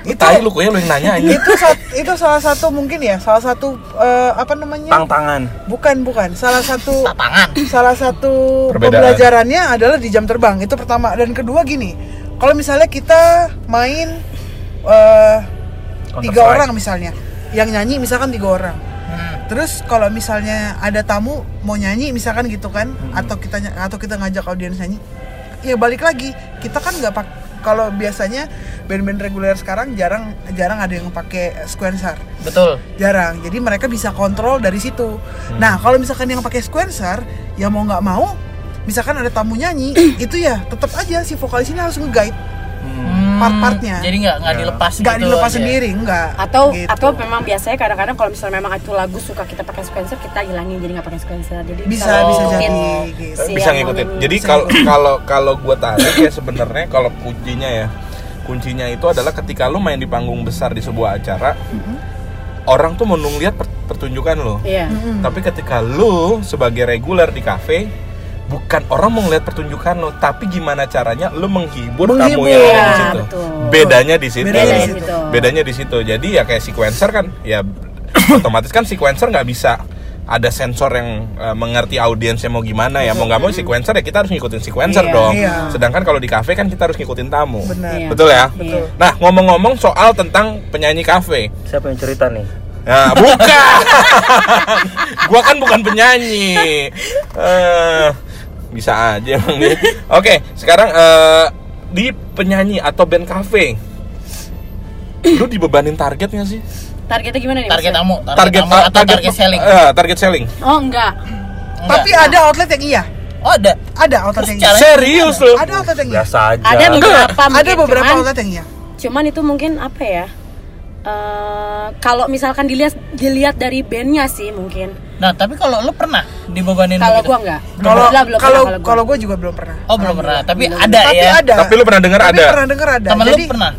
Nah, tai lu kayaknya lu yang nanya ini
Nah, itu sa- itu salah satu mungkin ya salah satu eh, apa namanya
Tantangan.
bukan bukan salah satu
Tangan.
salah satu
Perbedaan.
pembelajarannya adalah di jam terbang itu pertama dan kedua gini kalau misalnya kita main eh,
Counter
tiga
Strike.
orang misalnya yang nyanyi misalkan tiga orang terus kalau misalnya ada tamu mau nyanyi misalkan gitu kan
Hmm.
atau kita ny- atau kita ngajak audiens nyanyi ya balik lagi kita kan nggak pak kalau biasanya band-band reguler sekarang jarang jarang ada yang pakai sequencer
Betul.
jarang jadi mereka bisa kontrol dari situ
Hmm.
nah kalau misalkan yang pakai sequencer ya mau nggak mau misalkan ada tamu nyanyi itu ya tetap aja si vokalis ini harus nge-guide
Hmm,
Part-partnya.
Jadi nggak
Iya.
nggak dilepas.
nggak
gitu
dilepas
aja.
sendiri nggak
Atau
Gitu.
atau memang biasanya kadang-kadang kalau misalnya memang itu lagu suka kita pakai sequencer, kita hilangin jadi nggak pakai sequencer. Jadi
bisa
kalau
bisa jadi
mungkin
gitu.
si
Eh, bisa
yang
ngikutin.
mau-
Jadi kalau kalau kalau gue tarik ya sebenarnya kalau kuncinya ya kuncinya itu adalah ketika lu main di panggung besar di sebuah acara orang tuh mau lihat per- pertunjukan lo.
Iya.
Hmm,
Tapi ketika lu sebagai reguler di kafe bukan orang mau ngeliat pertunjukan lo, tapi gimana caranya lu menghibur, tamu yang ada di
Iya,
situ.
betul.
Bedanya di situ.
Bedanya di
situ.
Bedanya di situ. Jadi ya kayak sequencer kan, ya otomatis kan sequencer nggak bisa ada sensor yang eh, mengerti audiensnya mau gimana ya mau nggak mau sequencer ya kita harus ngikutin sequencer
Iya.
dong
Iya.
sedangkan kalau di kafe kan kita harus ngikutin tamu
benar
Iya.
betul ya
Betul.
nah ngomong-ngomong soal tentang penyanyi kafe
Siapa yang cerita nih?
Nah, bukan. gua kan bukan penyanyi. Eh, bisa aja emang nih. Oke, sekarang eh, di penyanyi atau band cafe. Lu dibebanin targetnya sih?
Targetnya gimana nih?
Target
maksudnya?
kamu, target,
Iya. target
kamu atau target, selling?
eh, target selling
Oh enggak.
Enggak.
Tapi ada outlet yang iya.
oh, ada.
Ada outlet yang iya.
Caranya-
serius lu
Ada outlet yang iya.
biasa aja
Ada beberapa
Ada
mungkin,
beberapa
cuman,
outlet yang iya.
cuman itu mungkin apa ya? Eh, kalau misalkan dilihat dilihat dari bandnya sih mungkin.
Nah, tapi kalau lu pernah dibebanin
Kalau
gitu.
begitu?
gua enggak.
Kalau
Alhamdulillah belum
kalau
pernah
kalau
gua.
gue juga belum pernah.
Oh, belum pernah. Tapi
Belum.
ada
Tapi
ya.
ada.
Tapi lu pernah dengar
Tapi
ada?
pernah dengar ada.
Temen
Jadi
lu pernah?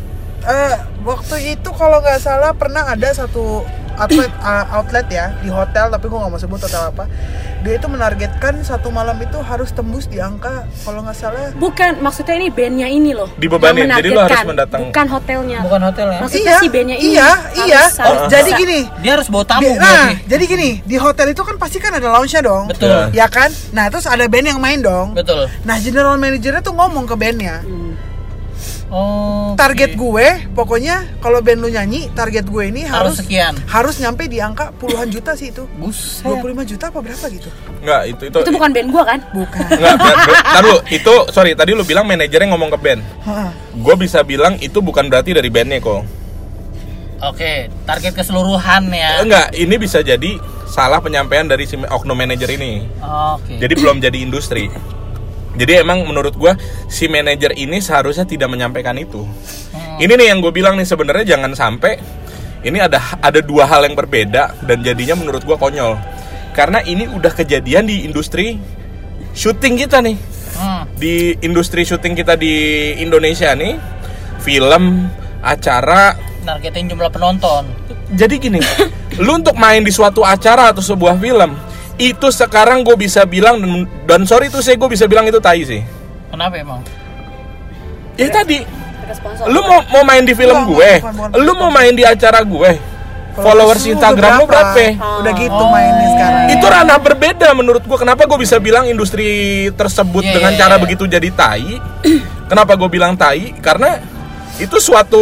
eh, waktu itu kalau nggak salah pernah ada satu outlet uh, outlet ya di hotel tapi gue nggak mau sebut hotel apa. Dia itu menargetkan satu malam itu harus tembus di angka kalau nggak salah
Bukan, maksudnya ini bandnya ini loh.
Dibebanin,
yang
jadi lu harus
menargetkan,
mendatang-
Bukan hotelnya.
Bukan hotel ya.
Maksudnya si bandnya ini.
Iya,
harus-
iya.
harus
Jadi
bisa.
gini,
Dia harus bawa tamu
Di- nah,
berarti.
jadi gini, di hotel itu kan pasti kan ada lounge-nya dong.
Betul.
Ya kan? Nah, terus ada band yang main dong.
Betul.
Nah, general manajernya tuh ngomong ke bandnya,
Hmm, Oh.
target gue, pokoknya kalau band lu nyanyi, target gue ini
harus
harus harus,
sekian.
nyampe di angka puluhan juta sih itu.
Buset.
25 juta apa berapa gitu?
Enggak, itu itu
Itu bukan band gua kan?
Bukan.
Enggak, bentar lu, itu sorry tadi lu bilang manajernya ngomong ke band.
Heeh.
Gue bisa bilang itu bukan berarti dari bandnya kok.
Oke, target keseluruhan ya.
Enggak, ini bisa jadi salah penyampaian dari si oknum manajer ini.
Oke.
Hmm. Jadi belum jadi industri. Jadi emang menurut gue si manajer ini seharusnya tidak menyampaikan itu. Ini nih yang gue bilang nih sebenarnya jangan sampai ini ada ada dua hal yang berbeda dan jadinya menurut gue konyol. Karena ini udah kejadian di industri syuting kita nih
Hmm.
di industri syuting kita di Indonesia nih film acara
Targetin jumlah penonton.
jadi gini lu untuk main di suatu acara atau sebuah film itu sekarang gue bisa bilang dan, dan sorry tuh saya gue bisa bilang itu tai sih
Kenapa emang?
ya tadi
Mereka sponsor.
lu mau mau main di film
Enggak,
gue
bukan, bukan.
lu mau main di acara gue followers
Terus
Instagram lu berapa
Udah gitu mainnya sekarang.
itu ranah berbeda menurut gue kenapa gue bisa bilang industri tersebut
Iya,
dengan
iya,
cara
iya.
begitu jadi tai kenapa gue bilang tai karena itu suatu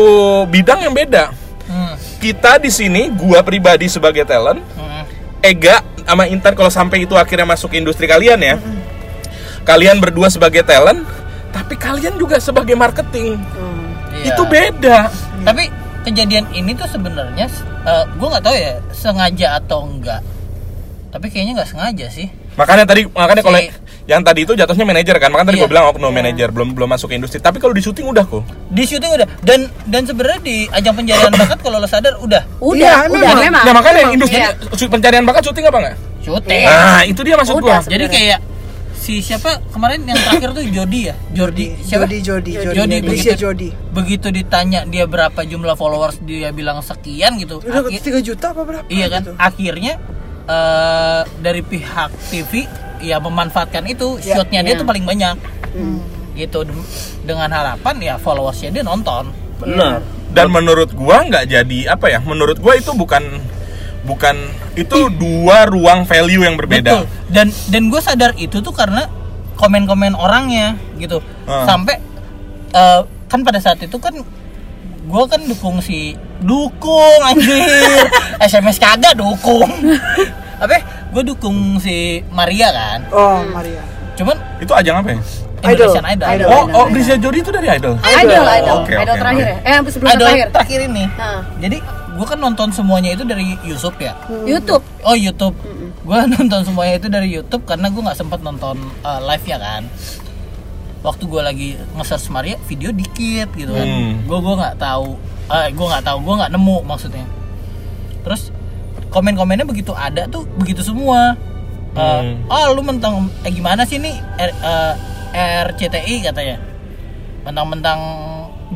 bidang yang beda
Hmm.
kita di sini gua pribadi sebagai talent
Hmm.
Ega sama Intan kalau sampai itu akhirnya masuk ke industri kalian ya kalian berdua sebagai talent tapi kalian juga sebagai marketing
Iya.
itu beda
Tapi kejadian ini tuh sebenarnya gue nggak tahu ya sengaja atau enggak. Tapi kayaknya nggak sengaja sih.
makanya tadi makanya kalau
Si-
yang tadi itu jatuhnya manajer kan makanya tadi
Iya.
gua bilang oknum manajer belum belum masuk ke industri tapi kalau di syuting udah kok
Di syuting udah dan dan sebenarnya di ajang pencarian bakat kalau lo sadar udah
Udah,
Iya,
udah
memang.
memang.
Nah makanya industri
Iya.
su- pencarian bakat syuting apa nggak?
syuting.
Nah itu dia maksud
Udah,
gua.
sebenarnya.
Jadi kayak si siapa kemarin yang terakhir tuh Jody ya? Jordi siapa?
Jody, Jody, Jody,
Jody,
Lisha
begitu,
Jody.
begitu ditanya dia berapa jumlah followers dia bilang sekian gitu.
Udah
Akhir-
3 juta apa berapa?
iya kan?
gitu.
Akhirnya eh, dari pihak TV ya memanfaatkan itu
Ya, Hmm.
shotnya dia
iya.
tuh paling banyak. Gitu Dem- dengan harapan ya followersnya dia nonton.
benar
Dan menurut gua nggak jadi apa ya? Menurut gua itu bukan bukan itu dua ruang value yang berbeda.
Betul. Dan dan gue sadar itu tuh karena komen-komen orangnya gitu.
Ah.
Sampai eh, kan pada saat itu kan gue kan dukung si dukung anjir SMS kagak dukung apa gue dukung si Maria kan
Oh, Maria.
cuman
Itu ajang apa ya?
Idol.
Indonesian Idol
Idol.
Oh, oh Grisha Jody itu dari Idol.
Idol, idol,
Oke,
idol
oke,
terakhir
oke.
ya? Eh, sebelum
Idol
terakhir.
terakhir ini
Nah,
jadi gue kan nonton semuanya itu dari Yusuf ya
YouTube.
Oh YouTube, gue nonton semuanya itu dari YouTube karena gue nggak sempat nonton uh, live ya kan. Waktu gue lagi nge-search Maria, video dikit gitu kan.
Hmm.
Gue gua nggak tahu, eh gue nggak tahu, gue nggak nemu maksudnya. Terus komen-komennya begitu ada tuh begitu semua. Eh,
Hmm.
Ah lu mentang eh, gimana sih nih R, eh, RCTI katanya. Mentang-mentang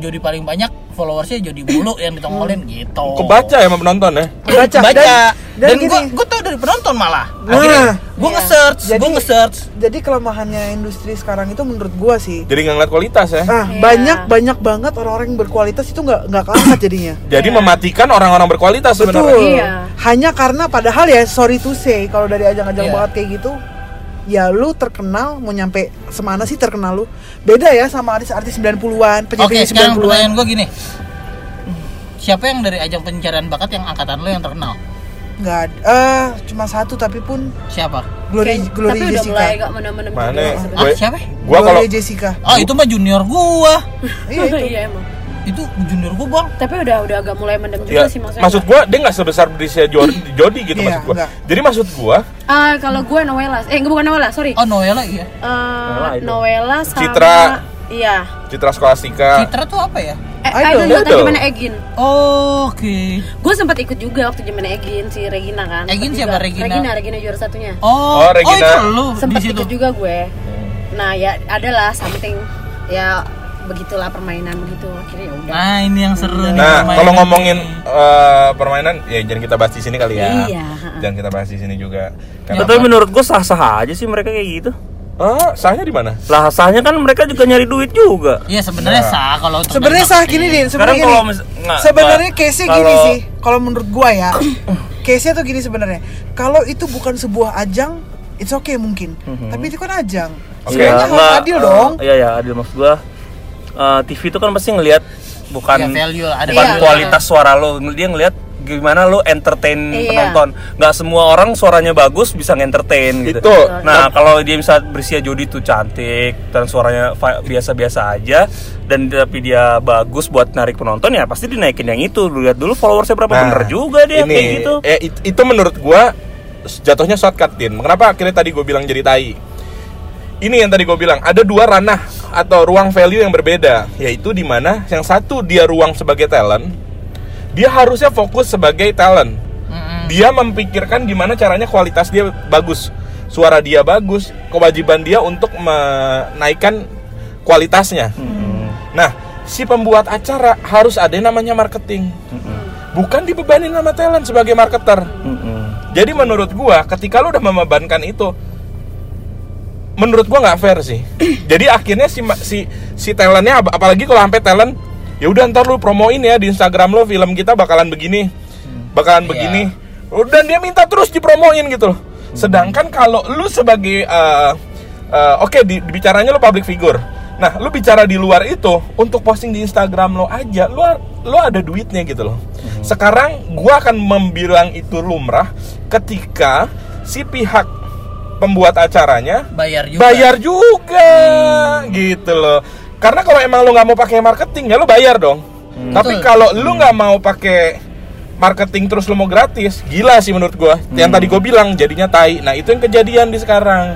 Jody paling banyak followersnya Jody Bulu yang
Hmm.
ditongolin gitu.
Kebaca ya sama penonton ya?
Baca.
Baca.
Dan- dan
Dan,
gini.
gue gue tau dari penonton malah.
Nah.
Akhirnya gue
Iya.
nge-search, gue
Jadi-
nge-search.
Jadi kelemahannya industri sekarang itu menurut gua sih.
Jadi nggak ngeliat kualitas ya?
Ah,
Iya.
banyak banyak banget orang-orang yang berkualitas itu nggak nggak keangkat jadinya.
Jadi mematikan orang-orang berkualitas
Iya. Betul.
sebenarnya.
Iya.
Hanya karena padahal ya sorry to say kalau dari ajang-ajang
Iya.
banget kayak gitu ya lu terkenal mau nyampe semana sih terkenal lu. Beda ya sama artis-artis 90-an,
Oke,
penyanyi
sekarang
90-an.
pertanyaan gue gini. Siapa yang dari ajang pencarian bakat yang angkatan lo yang terkenal?
Enggak ada. Eh, cuma satu tapi pun
Siapa?
Glory
Kayak-
Glory
tapi udah mulai
Jessica.
agak menem-menem
Mana?
juga
Gue-
Ah, siapa?
Gua kalau
Gloria Jessica.
Oh, itu mah junior gua.
Iya
sebenarnya.
itu.
Iya, emang.
itu junior gue bang
Tapi udah udah agak mulai mendem
Ya,
juga sih maksudnya.
maksud gua dia nggak sebesar Brisia Jody, Jody gitu maksud
Iya,
gua.
nggak.
Jadi maksud gua
Ah, kalau gue Noella, eh bukan Noella, sorry.
oh Noella iya
Eh, Noella sama
Citra.
Iya.
Citra Skolastika
Citra tuh apa ya
Eh, Idol
Idol.
juga
Idol.
gimana Egin?
oh, oke
Gue sempat ikut juga waktu zaman Egin si Regina kan.
Egin
Sempet
siapa,
juga.
Regina?
Regina, Regina juara satunya.
Oh,
oh
Regina.
itu lu di
Sempat
situ
ikut juga gue. Nah, ya adalah something ya begitulah permainan begitu akhirnya ya udah.
nah ini yang seru nih
Nah,
permainan
kalau
nih.
ngomongin eh, permainan, ya jangan kita bahas di sini kali ya.
Iya.
Jangan kita bahas di sini juga. Karena,
Tapi menurut gue sah-sah aja sih mereka kayak gitu.
ah, sahnya di mana?
Lah sahnya kan mereka juga nyari duit juga.
Iya sebenarnya sah kalau untuk
Sebenarnya
nembak
sah gini
sih.
din,
Sekarang
sebenarnya gini.
kalau mis- nggak-
Sebenarnya
nggak-
case-nya
kalau-
gini sih, kalau menurut gua ya. case-nya tuh gini sebenarnya. Kalau itu bukan sebuah ajang, it's okay mungkin. Tapi itu kan ajang.
Oke.
Sebenarnya harus
nggak,
adil
eh,
dong.
Iya ya adil maksud gue. TV itu kan pasti ngelihat bukan
Iya, value lah, ada
bukan
value.
kualitas suara lo, dia ngelihat gimana lo entertain
Iya.
penonton. Nggak semua orang suaranya bagus bisa ngentertain gitu.
Itu.
Nah kalau dia bisa bersia Jody tuh cantik dan suaranya fa- biasa-biasa aja dan tapi dia bagus buat narik penonton ya pasti dinaikin yang itu. Lu lihat dulu followersnya berapa
Nah,
bener juga dia
ini,
kayak gitu.
eh, it- itu menurut gua jatuhnya shortcut din. Kenapa akhirnya tadi gua bilang jadi tai? Ini yang tadi gua bilang, ada dua ranah atau ruang value yang berbeda, yaitu di mana yang satu dia ruang sebagai talent, dia harusnya fokus sebagai talent. Dia memikirkan gimana caranya kualitas dia bagus, suara dia bagus, kewajiban dia untuk menaikkan kualitasnya. Nah, si pembuat acara harus ada yang namanya marketing. Bukan dibebanin sama talent sebagai marketer.
Mm-mm.
Jadi menurut gua ketika lu udah membebankan itu menurut gua nggak fair sih. Jadi akhirnya si ma- si si talentnya ap- apalagi kalau sampai talent ya udah ntar lu promoin ya di Instagram lo film kita bakalan begini. Bakalan begini. Dan dia minta terus dipromoin gitu loh. Sedangkan kalau lu sebagai eh, eh, oke di, bicaranya lu public figure. Nah, lu bicara di luar itu untuk posting di Instagram lo aja, lu lu ada duitnya gitu loh. Sekarang gua akan membilang itu lumrah ketika si pihak pembuat acaranya
bayar juga Hmm.
bayar juga gitu loh karena kalau emang lu nggak mau pakai marketing ya lu bayar dong tapi
Hmm. Betul.
kalau lu nggak mau pakai marketing terus lu mau gratis gila sih menurut gua yang
Hmm.
tadi gua bilang jadinya tai nah itu yang kejadian di sekarang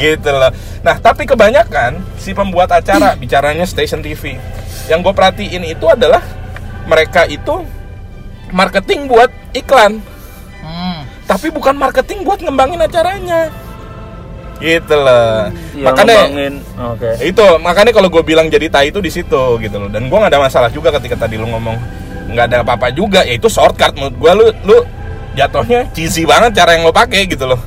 gitu loh nah tapi kebanyakan si pembuat acara bicaranya station TV yang gue perhatiin itu adalah mereka itu marketing buat iklan
Hmm.
tapi bukan marketing buat ngembangin acaranya gitu loh
Hmm, Yang
makanya
ngembangin, Iya, oke.
itu makanya kalau gue bilang jadi tai itu di situ gitu loh dan gue nggak ada masalah juga ketika tadi lu ngomong nggak ada apa-apa juga ya itu shortcut menurut gue lu lu jatuhnya cheesy banget cara yang lo pakai gitu loh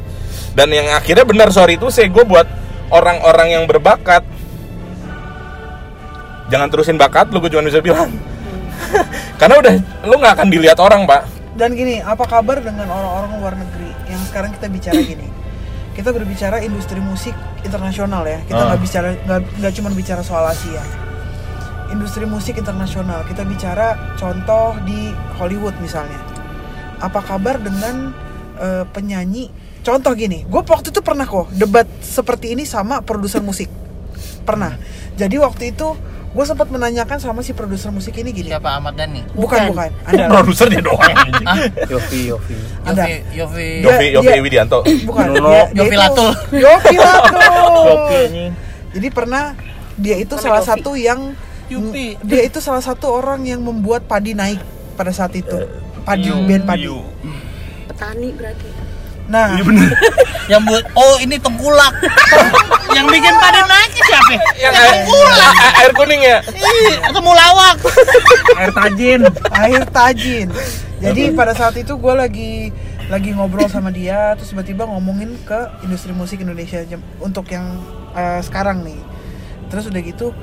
dan yang akhirnya benar sorry itu saya gue buat orang-orang yang berbakat jangan terusin bakat lu gue cuma bisa bilang
Hmm.
karena udah lu nggak akan dilihat orang pak
Dan gini, apa kabar dengan orang-orang luar negeri yang sekarang kita bicara gini? Kita berbicara industri musik internasional ya. Kita nggak bicara nggak nggak cuma bicara soal Asia. Industri musik internasional. Kita bicara contoh di Hollywood misalnya. Apa kabar dengan eh, penyanyi? Contoh gini, gue waktu itu pernah kok debat seperti ini sama produser musik. Pernah. Jadi waktu itu gue sempat menanyakan sama si produser musik ini gini.
siapa Ahmad Dhani
Bukan, bukan.
Iya.
Ada
produser dia doang anjing.
Yofi, Yofi.
Ada.
Yofi Yofi
Iya,
Yo-
Yofi,
Dia-
Yofi
dia-
Widianto
bukan
Nuno.
dia- dia
Yofi
itu-
Latul.
Yofi Latul.
Yofi anjing.
jadi pernah dia itu salah
Yofi.
satu yang
Yupi.
dia itu salah satu orang yang membuat padi naik pada saat itu padi band padi
Petani berarti.
Iya.
nah
Iya
yang buat oh ini tengkulak yang bikin pada naik siapa
yang air, a- air kuning ya
Ih, ketemu lawak
Air tajin.
air tajin jadi pada saat itu gue lagi lagi ngobrol sama dia terus tiba-tiba ngomongin ke industri musik Indonesia jam- untuk yang eh, sekarang nih terus udah gitu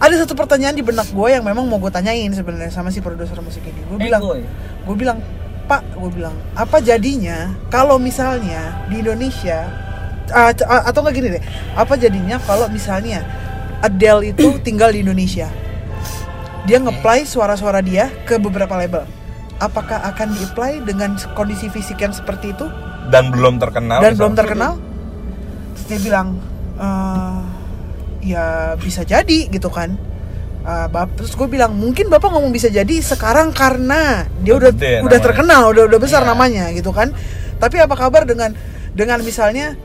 ada satu pertanyaan di benak gue yang memang mau gue tanyain sebenarnya sama si produser musik ini gue bilang
Ego ya?
gue bilang pak gue bilang apa jadinya kalau misalnya di Indonesia ah, c- ah, atau nggak gini deh apa jadinya kalau misalnya Adele itu tinggal di Indonesia dia ngeplay suara-suara dia ke beberapa label apakah akan di-apply dengan kondisi fisik yang seperti itu
dan belum terkenal
dan
misalnya.
belum terkenal terus dia bilang "Eh, ya bisa jadi gitu kan eh, bap- terus gue bilang mungkin bapak ngomong bisa jadi sekarang karena dia udah
Gede namanya.
udah
Iya.
terkenal udah udah besar namanya gitu kan tapi apa kabar dengan dengan misalnya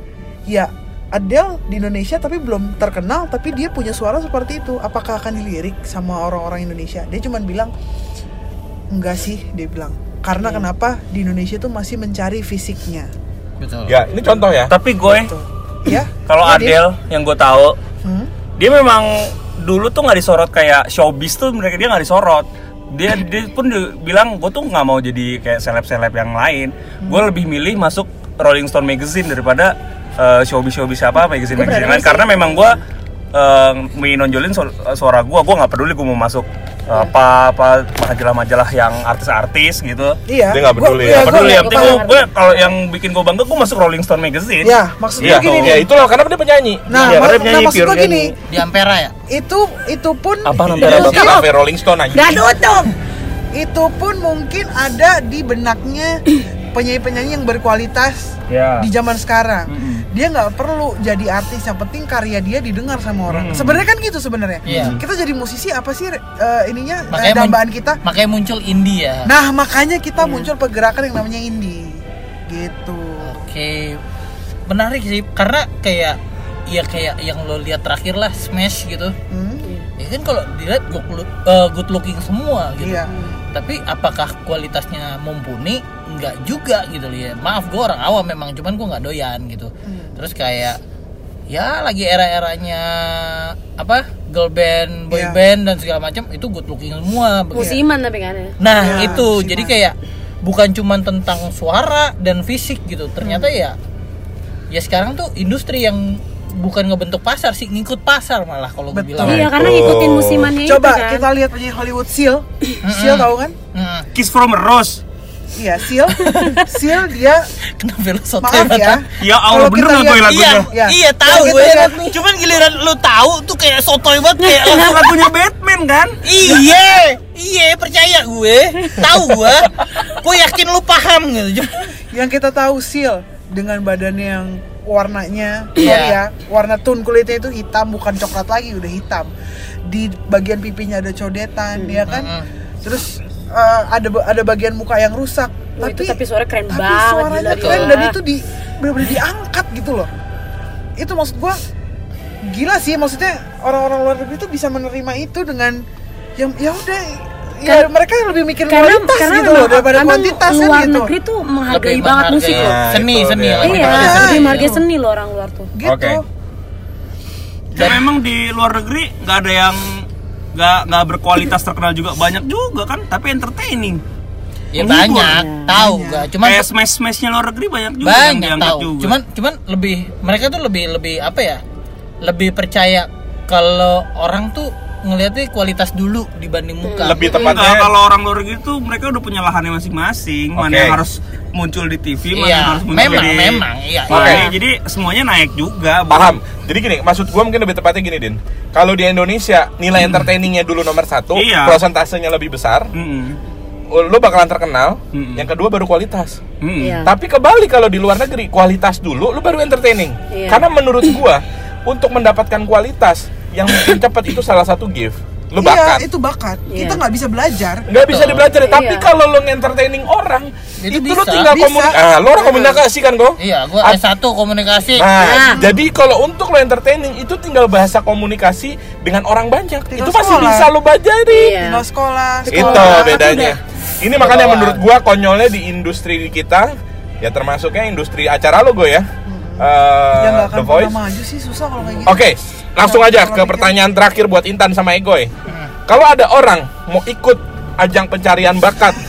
ya Adele di Indonesia tapi belum terkenal tapi dia punya suara seperti itu apakah akan dilirik sama orang-orang Indonesia dia cuman bilang enggak sih dia bilang karena
Hmm.
kenapa di Indonesia tuh masih mencari fisiknya
betul
Ya, ini contoh ya.
Tapi gue
Tuh. ya
kalau
Ya, dia-
Adele yang gue tahu
Hmm?
dia memang dulu tuh nggak disorot kayak showbiz tuh mereka dia nggak disorot dia dia pun di- bilang gue tuh nggak mau jadi kayak seleb seleb yang lain gue lebih milih masuk Rolling Stone magazine daripada eh, showbiz showbiz siapa magazine magazine lain karena memang gue eh, menonjolin su- suara gue gue nggak peduli gue mau masuk eh, apa apa majalah-majalah yang artis-artis gitu
iya
Dia nggak
Gua-
peduli ya.
iya,
Gak
gua-
peduli
gua
yang penting
paham.
gue- gue kalau yang bikin gue bangga gue masuk Rolling Stone magazine
ya maksudnya
Iya,
gini
ya
nih
itu loh, karena dia penyanyi.
nah,
Iya,
ma-
karena penyanyi
nah maksud gue
pure
gini
di Ampera ya
itu itu pun
Apa
itu,
Ampera,
Dia
pun-
kafe Rolling Stone aja.
Gak tutup.
itu pun mungkin ada di benaknya penyanyi-penyanyi yang berkualitas
Ya.
di zaman sekarang dia nggak perlu jadi artis yang penting karya dia didengar sama orang sebenarnya kan gitu sebenarnya
Iya.
kita jadi musisi apa sih eh, ininya eh,
Makanya mun-
dambaan kita
makanya muncul ya. India
nah makanya kita muncul pergerakan yang namanya indie gitu
Oh. Oke, menarik sih karena kayak ya kayak yang lo lihat terakhir lah Smash gitu.
Hmm?
Ya kan kalau dilihat good, look- eh, good looking semua gitu.
Iya.
Tapi apakah kualitasnya mumpuni? Enggak juga gitu loh ya. Maaf gue orang awam memang, cuman gue nggak doyan gitu. Terus kayak ya lagi era-eranya apa girl band, boy
Iya.
band dan segala macam itu good looking semua. begitu.
Musiman tapi kan ya.
Nah
Ya,
itu
musiman.
jadi kayak bukan cuman tentang suara dan fisik gitu. Ternyata ya ya sekarang tuh industri yang bukan ngebentuk pasar sih ngikut pasar malah kalau gue
Betul.
bilang.
Iya karena ngikutin musimannya
coba
itu kan.
kita lihat penyanyi Hollywood Seal Seal tahu kan
Hmm,
Kiss from a Rose
iya Seal Seal dia
kenapa lu sotoy
maaf ya
banget?
Ya Allah,
Kalau kita
bener nggak
lihat-
gue
Iya,
lagunya?
Ya.
iya tahu
Ya, gitu
gue.
kan.
Cuman giliran lu tahu tuh kayak sotoy banget kayak
Itu
langsung-
lagunya Batman kan?
Iya, iya percaya gue, tahu gue, gue yakin lu paham gitu.
yang kita tahu seal dengan badannya yang warnanya
Iya.
sorry ya warna tone kulitnya itu hitam bukan coklat lagi udah hitam di bagian pipinya ada codetan ya kan
Mm-mm.
terus eh, ada ba- ada bagian muka yang rusak
Wah, Oh, itu
tapi
tapi suara keren
tapi
banget,
suaranya
gila,
keren
gila.
dan itu di benar-benar diangkat gitu loh itu maksud gua gila sih maksudnya orang-orang luar negeri itu bisa menerima itu dengan yang ya udah ya
Kar-
mereka lebih mikir
Karena
kualitas
karena
gitu loh
memang-
daripada
emang
kuantitas kan
luar
gitu.
negeri tuh menghargai
Lebih
banget
menghargai. iya.
musik loh.
Seni,
itu
seni.
dia.
lebih
Iya,
menghargai
lebih
seni.
menghargai seni loh orang luar
Hmm.
tuh.
gitu
Oke.
Dan memang di luar negeri nggak ada yang nggak nggak berkualitas terkenal juga banyak juga kan tapi entertaining
Ya banyak,
Iya.
tahu gue. Cuman
kayak smash smashnya luar negeri banyak juga yang
banyak
diangkat
tahu
juga
cuman cuman lebih mereka tuh lebih lebih apa ya lebih percaya kalau orang tuh ngelihatnya kualitas dulu dibanding muka
Lebih
Enggak,
tepatnya
kalau orang luar negeri tuh mereka udah punya lahannya masing-masing mana
Oke.
yang harus muncul di TV mana
Iya,
yang harus muncul
memang,
di
memang, iya,
Nah,
iya.
ini jadi semuanya naik juga Bu.
Paham. Jadi gini, maksud gua mungkin lebih tepatnya gini, Din. Kalau di Indonesia nilai entertainingnya dulu nomor satu,
Iya.
prosentasenya lebih besar,
Mm-mm.
lo bakalan terkenal.
Mm-mm.
Yang kedua baru kualitas.
Mm-mm.
Iya.
Tapi kebalik kalau di luar negeri kualitas dulu, lu baru entertaining.
Iya.
Karena menurut gua untuk mendapatkan kualitas yang mungkin cepat itu salah satu gift. Lu
Iya,
bakat.
itu bakat. Kita
Iya.
nggak bisa belajar.
nggak bisa dibelajarin, tapi
Iya.
kalau lu entertaining orang,
Itu
itu, lu
bisa.
tinggal
Bisa.
komunikasi. Ah, lu orang komunikasi kan, Go?
iya gua
At-
S1 komunikasi
Nah, jadi kalau untuk lo entertaining itu tinggal bahasa komunikasi dengan orang banyak.
Tinggal
itu masih
sekolah.
bisa lo bajarin.
Iya.
Tinggal sekolah,
Itu
sekolah.
bedanya. Ini makanya
Bawaan.
menurut gua konyolnya di industri di kita ya termasuknya industri acara lo gue ya. Eh,
Ya nggak
The
akan pernah
Voice.
maju sih susah kalau kayak gitu.
Oke, langsung
Nggak
aja ke
akan pernah
pertanyaan terakhir buat Intan sama Egoy. Kalau ada orang mau ikut ajang pencarian bakat,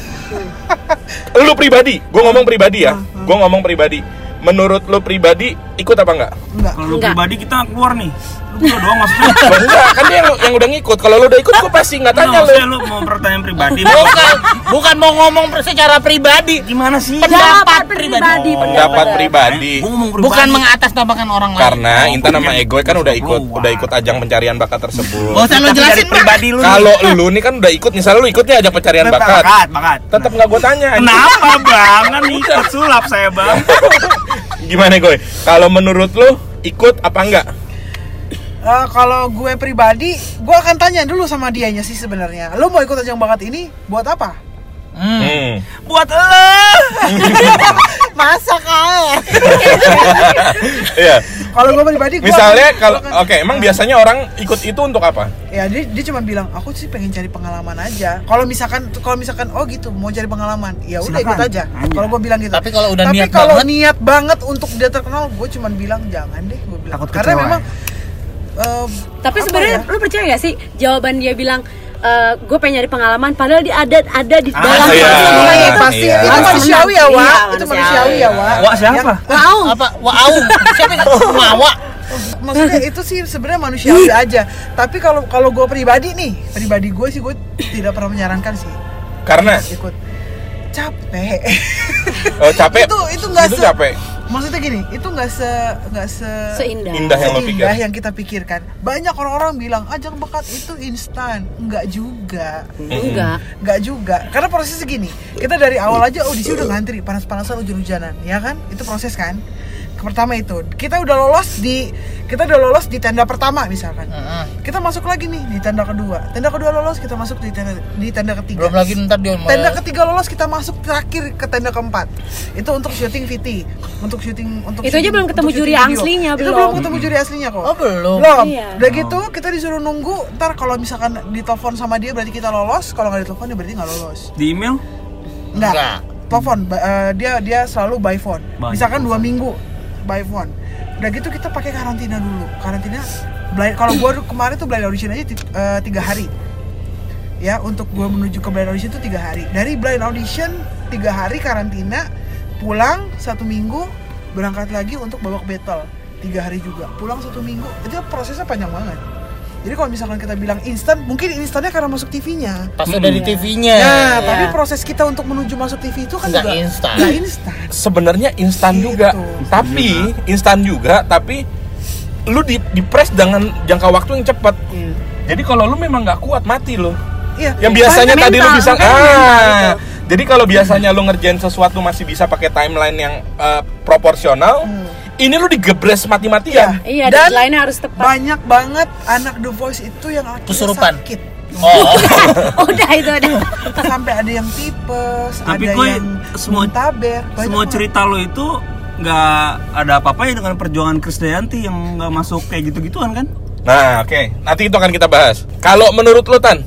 lu pribadi, gue ngomong pribadi ya, gue ngomong pribadi. Menurut lu pribadi ikut apa enggak?
Nggak.
kalau lu
Enggak.
pribadi kita keluar nih lu keluar doang maksudnya
Loh, enggak, kan dia yang, yang udah ngikut. Kalau lu udah ikut, gue pasti nggak
Enggak,
tanya lu.
maksudnya lu mau pertanyaan pribadi lu
bukan bukan mau ngomong per- secara pribadi
gimana sih
pendapat
Pendapat
pribadi
pribadi,
Pendapat pribadi.
Gua ngomong pribadi.
bukan mengatasnamakan orang lain
Karena Intan sama Egoy kan udah ikut,
Keluar.
udah ikut ajang pencarian bakat
Gak
tersebut.
usah lo
Tapi dari
jelasin Mbak.
pribadi lu nih.
Kalau lu nih kan udah ikut, misalnya lu ikutnya ajang pencarian bakat,
bakat Nah. bakat
tetap nggak gue tanya.
kenapa bang kan ikut sulap saya bang
Gimana Egoy? Kalau menurut lu ikut apa enggak?
Eh, Eh, kalau gue pribadi, gue akan tanya dulu sama dianya sih sebenarnya. Lo mau ikut ajang bakat ini buat apa?
Hmm.
Buat lo.
Masa kae.
Iya.
Kalau gue pribadi, gue
Misalnya
akan-
kalau
gue
oke,
akan-
emang biasanya orang ikut itu untuk apa?
ya dia, dia cuma bilang aku sih pengen cari pengalaman aja kalau misalkan kalau misalkan oh gitu mau cari pengalaman ya udah ikut
Silakan.
aja
Aja.
kalau gue bilang gitu
Tapi kalau udah
Tapi
niat
kalau
banget-
niat banget untuk dia terkenal gue cuma bilang jangan deh gue bilang
Takut
karena
kecewa.
memang
Iya.
eh,
Tapi
apa
sebenarnya
ya?
lu percaya gak sih jawaban dia bilang "Eh, gue pengen nyari pengalaman padahal dia ada ada
Ah,
di dalam
iya.
dirinya
Iya,
itu.
pasti
Iya.
itu manusiawi ya
Iya,
wa itu
manusiawi.
manusiawi ya wa
Wak siapa?
Wow.
apa wow siapa yang wawa
maksudnya itu sih sebenarnya manusiawi aja tapi kalau kalau gue pribadi nih pribadi gue sih gue tidak pernah menyarankan sih
Karena
ikut capek
oh, capek.
Itu- itu nggak se-
capek.
maksudnya gini itu nggak se nggak se
Seindah.
Hmm.
Indah yang lo pikir.
seindah yang kita pikirkan banyak orang-orang bilang ajang bakat itu instan nggak juga
Enggak.
nggak juga karena prosesnya gini kita dari awal aja audisi udah ngantri panas-panasan hujan-hujanan ya kan itu proses kan pertama itu kita udah lolos di kita udah lolos di tenda pertama misalkan
Hmm.
kita masuk lagi nih di tenda kedua tenda kedua lolos kita masuk di tenda di tenda ketiga
belum lagi ntar dia mau-
tenda ketiga lolos kita masuk terakhir ke tenda keempat itu untuk syuting VT untuk syuting untuk
Itu aja
syuting-
belum ketemu
untuk
juri
syuting video.
aslinya,
itu
belum.
belum ketemu juri aslinya kok
oh belum
belum
Iya.
udah gitu kita disuruh nunggu ntar kalau misalkan ditelepon sama dia berarti kita lolos kalau nggak ditelepon ya berarti nggak lolos
Di email?
nggak
Nggak.
telepon ba- eh, dia dia selalu by phone
By
misalkan dua minggu by phone udah gitu kita pakai karantina dulu karantina blind- kalau gua kemarin tuh blind audition aja ti- eh, tiga hari ya untuk gua menuju ke blind audition tuh tiga hari dari blind audition tiga hari karantina pulang satu minggu berangkat lagi untuk babak battle tiga hari juga pulang satu minggu itu prosesnya panjang banget jadi kalau misalkan kita bilang instan mungkin instannya karena masuk TV-nya
pas udah di TV-nya
Nah, tapi proses kita untuk menuju masuk TV itu kan
Iya. Nggak
juga
instan.
nggak instan.
Sebenarnya instan
Gitu.
juga, tapi instan juga, tapi lu di dipres dengan jangka waktu yang cepat. Jadi kalau lu memang nggak kuat mati lo.
Iya.
Yang biasanya
Mental,
tadi lu bisa
makanya mental
gitu.
ah. Jadi kalau biasanya lu ngerjain sesuatu masih bisa pakai timeline yang eh, proporsional, ini lu digebres mati-matian.
Iya,
Dan-
deadline-nya harus tepat.
banyak banget anak The Voice itu yang akhirnya
Kesurupan.
sakit.
oh
udah itu udah.
Sampai ada yang tipes,
Tapi
ada
gue
yang
semua-
muntaber. Banyak
Semua
banget.
cerita lo itu nggak ada apa-apanya dengan perjuangan Krisdayanti yang nggak masuk kayak gitu-gituan kan?
Nah, oke. Nanti itu akan kita bahas. Kalau menurut lu Tan,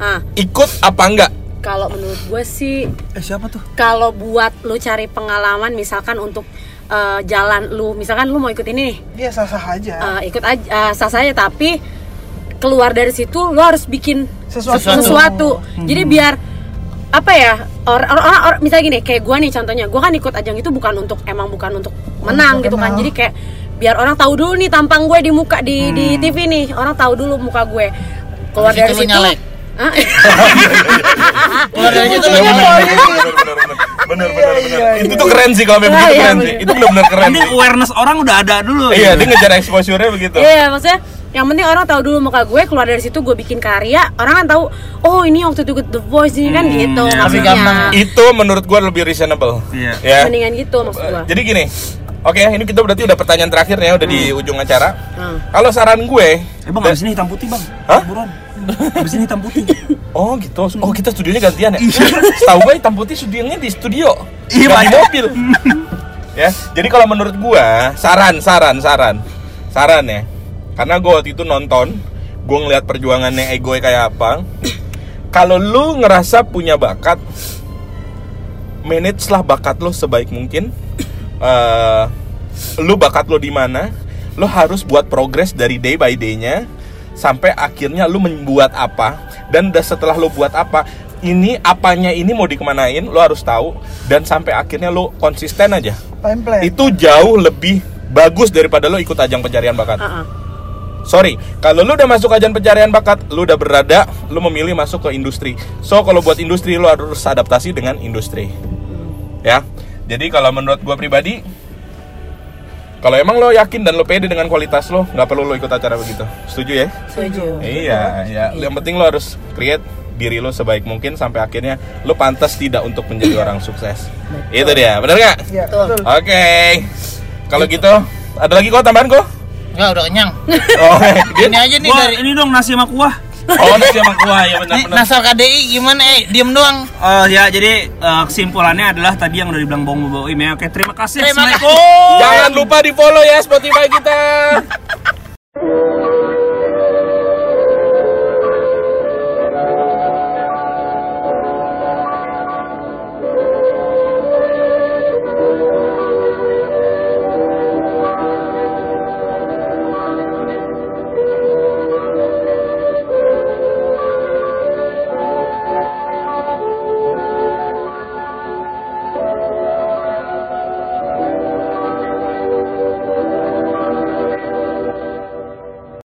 Ah,
ikut apa enggak?
kalau menurut gue sih
Eh siapa tuh?
kalau buat lu cari pengalaman misalkan untuk eh, jalan lu misalkan lu mau ikut ini nih
dia sah-sah aja.
Ah.
eh, ikut aja eh, sah saya tapi keluar dari situ lu harus bikin
Sesuatu.
sesuatu, jadi biar apa ya orang orang or, or- misalnya gini kayak gua nih contohnya gua kan ikut ajang itu bukan untuk emang bukan untuk menang gitu kan jadi kayak biar orang tahu dulu nih tampang gue di muka di di TV nih orang tahu dulu muka gue keluar
Habis itu
dari
lu
situ
nyalek.
Hah?
keluar dari situ
Bener,
lu
bener,
mau-
bener, bener, bener, bener, bener, bener. Itu tuh keren sih kalau memang
Iya,
itu
iya,
keren sih.
bener.
Itu benar-benar keren.
Ini
sih.
awareness orang udah ada dulu. Gitu.
Iya, dia ngejar exposure-nya begitu.
Iya, maksudnya yang penting orang tahu dulu muka gue keluar dari situ gue bikin karya orang kan tahu oh ini waktu itu ikut The Voice ini kan gitu
iya,
maksudnya
gampang.
Itu menurut gua lebih reasonable.
Iya.
Ya.
mendingan gitu maksud gue
Jadi gini. Oke, ini kita berarti udah pertanyaan terakhir ya, udah di ujung acara.
Hmm.
Kalau saran gue,
Eh bang, abis ini hitam putih bang.
Hah?
Buruan. Abis ini hitam putih.
Oh gitu. Oh kita studionya gantian ya. Setahu gue hitam putih studionya di studio.
Iya,
Nggak di
Pak.
mobil. ya. Jadi kalau menurut gua saran saran saran saran ya. Karena gua waktu itu nonton, gua ngeliat perjuangannya ego kayak apa. kalau lu ngerasa punya bakat, manage lah bakat lo sebaik mungkin. Eh, lu bakat lo di mana? Lo harus buat progres dari day by day-nya sampai akhirnya lu membuat apa dan da- setelah lu buat apa ini apanya ini mau dikemanain lo harus tahu dan sampai akhirnya lo konsisten aja
Time plan.
itu jauh lebih bagus daripada lo ikut ajang pencarian bakat
Heeh.
sorry kalau lu udah masuk ajang pencarian bakat lu udah berada lu memilih masuk ke industri so kalau buat industri lu harus adaptasi dengan industri ya jadi kalau menurut gua pribadi kalau emang lo yakin dan lo pede dengan kualitas lo nggak perlu lo ikut acara begitu setuju ya
setuju
iya ya yang penting lo harus create diri lo sebaik mungkin sampai akhirnya lo pantas tidak untuk menjadi orang sukses itu dia bener nggak
Iya, betul.
oke kalau gitu ada lagi kok tambahan kok
Enggak udah kenyang.
Oh,
Ini aja nih
Wah,
dari
ini dong nasi iya, sama kuah.
oh nasi sama kuah ya
Nih,
benar-benar.
Nasar KDI gimana eh diem doang.
Eh, ya jadi eh, kesimpulannya adalah tadi yang udah dibilang Bang Boboim ya. Oke, terima kasih.
Terima kasih.
Assalamualaikum.
Jangan lupa di follow ya Spotify kita.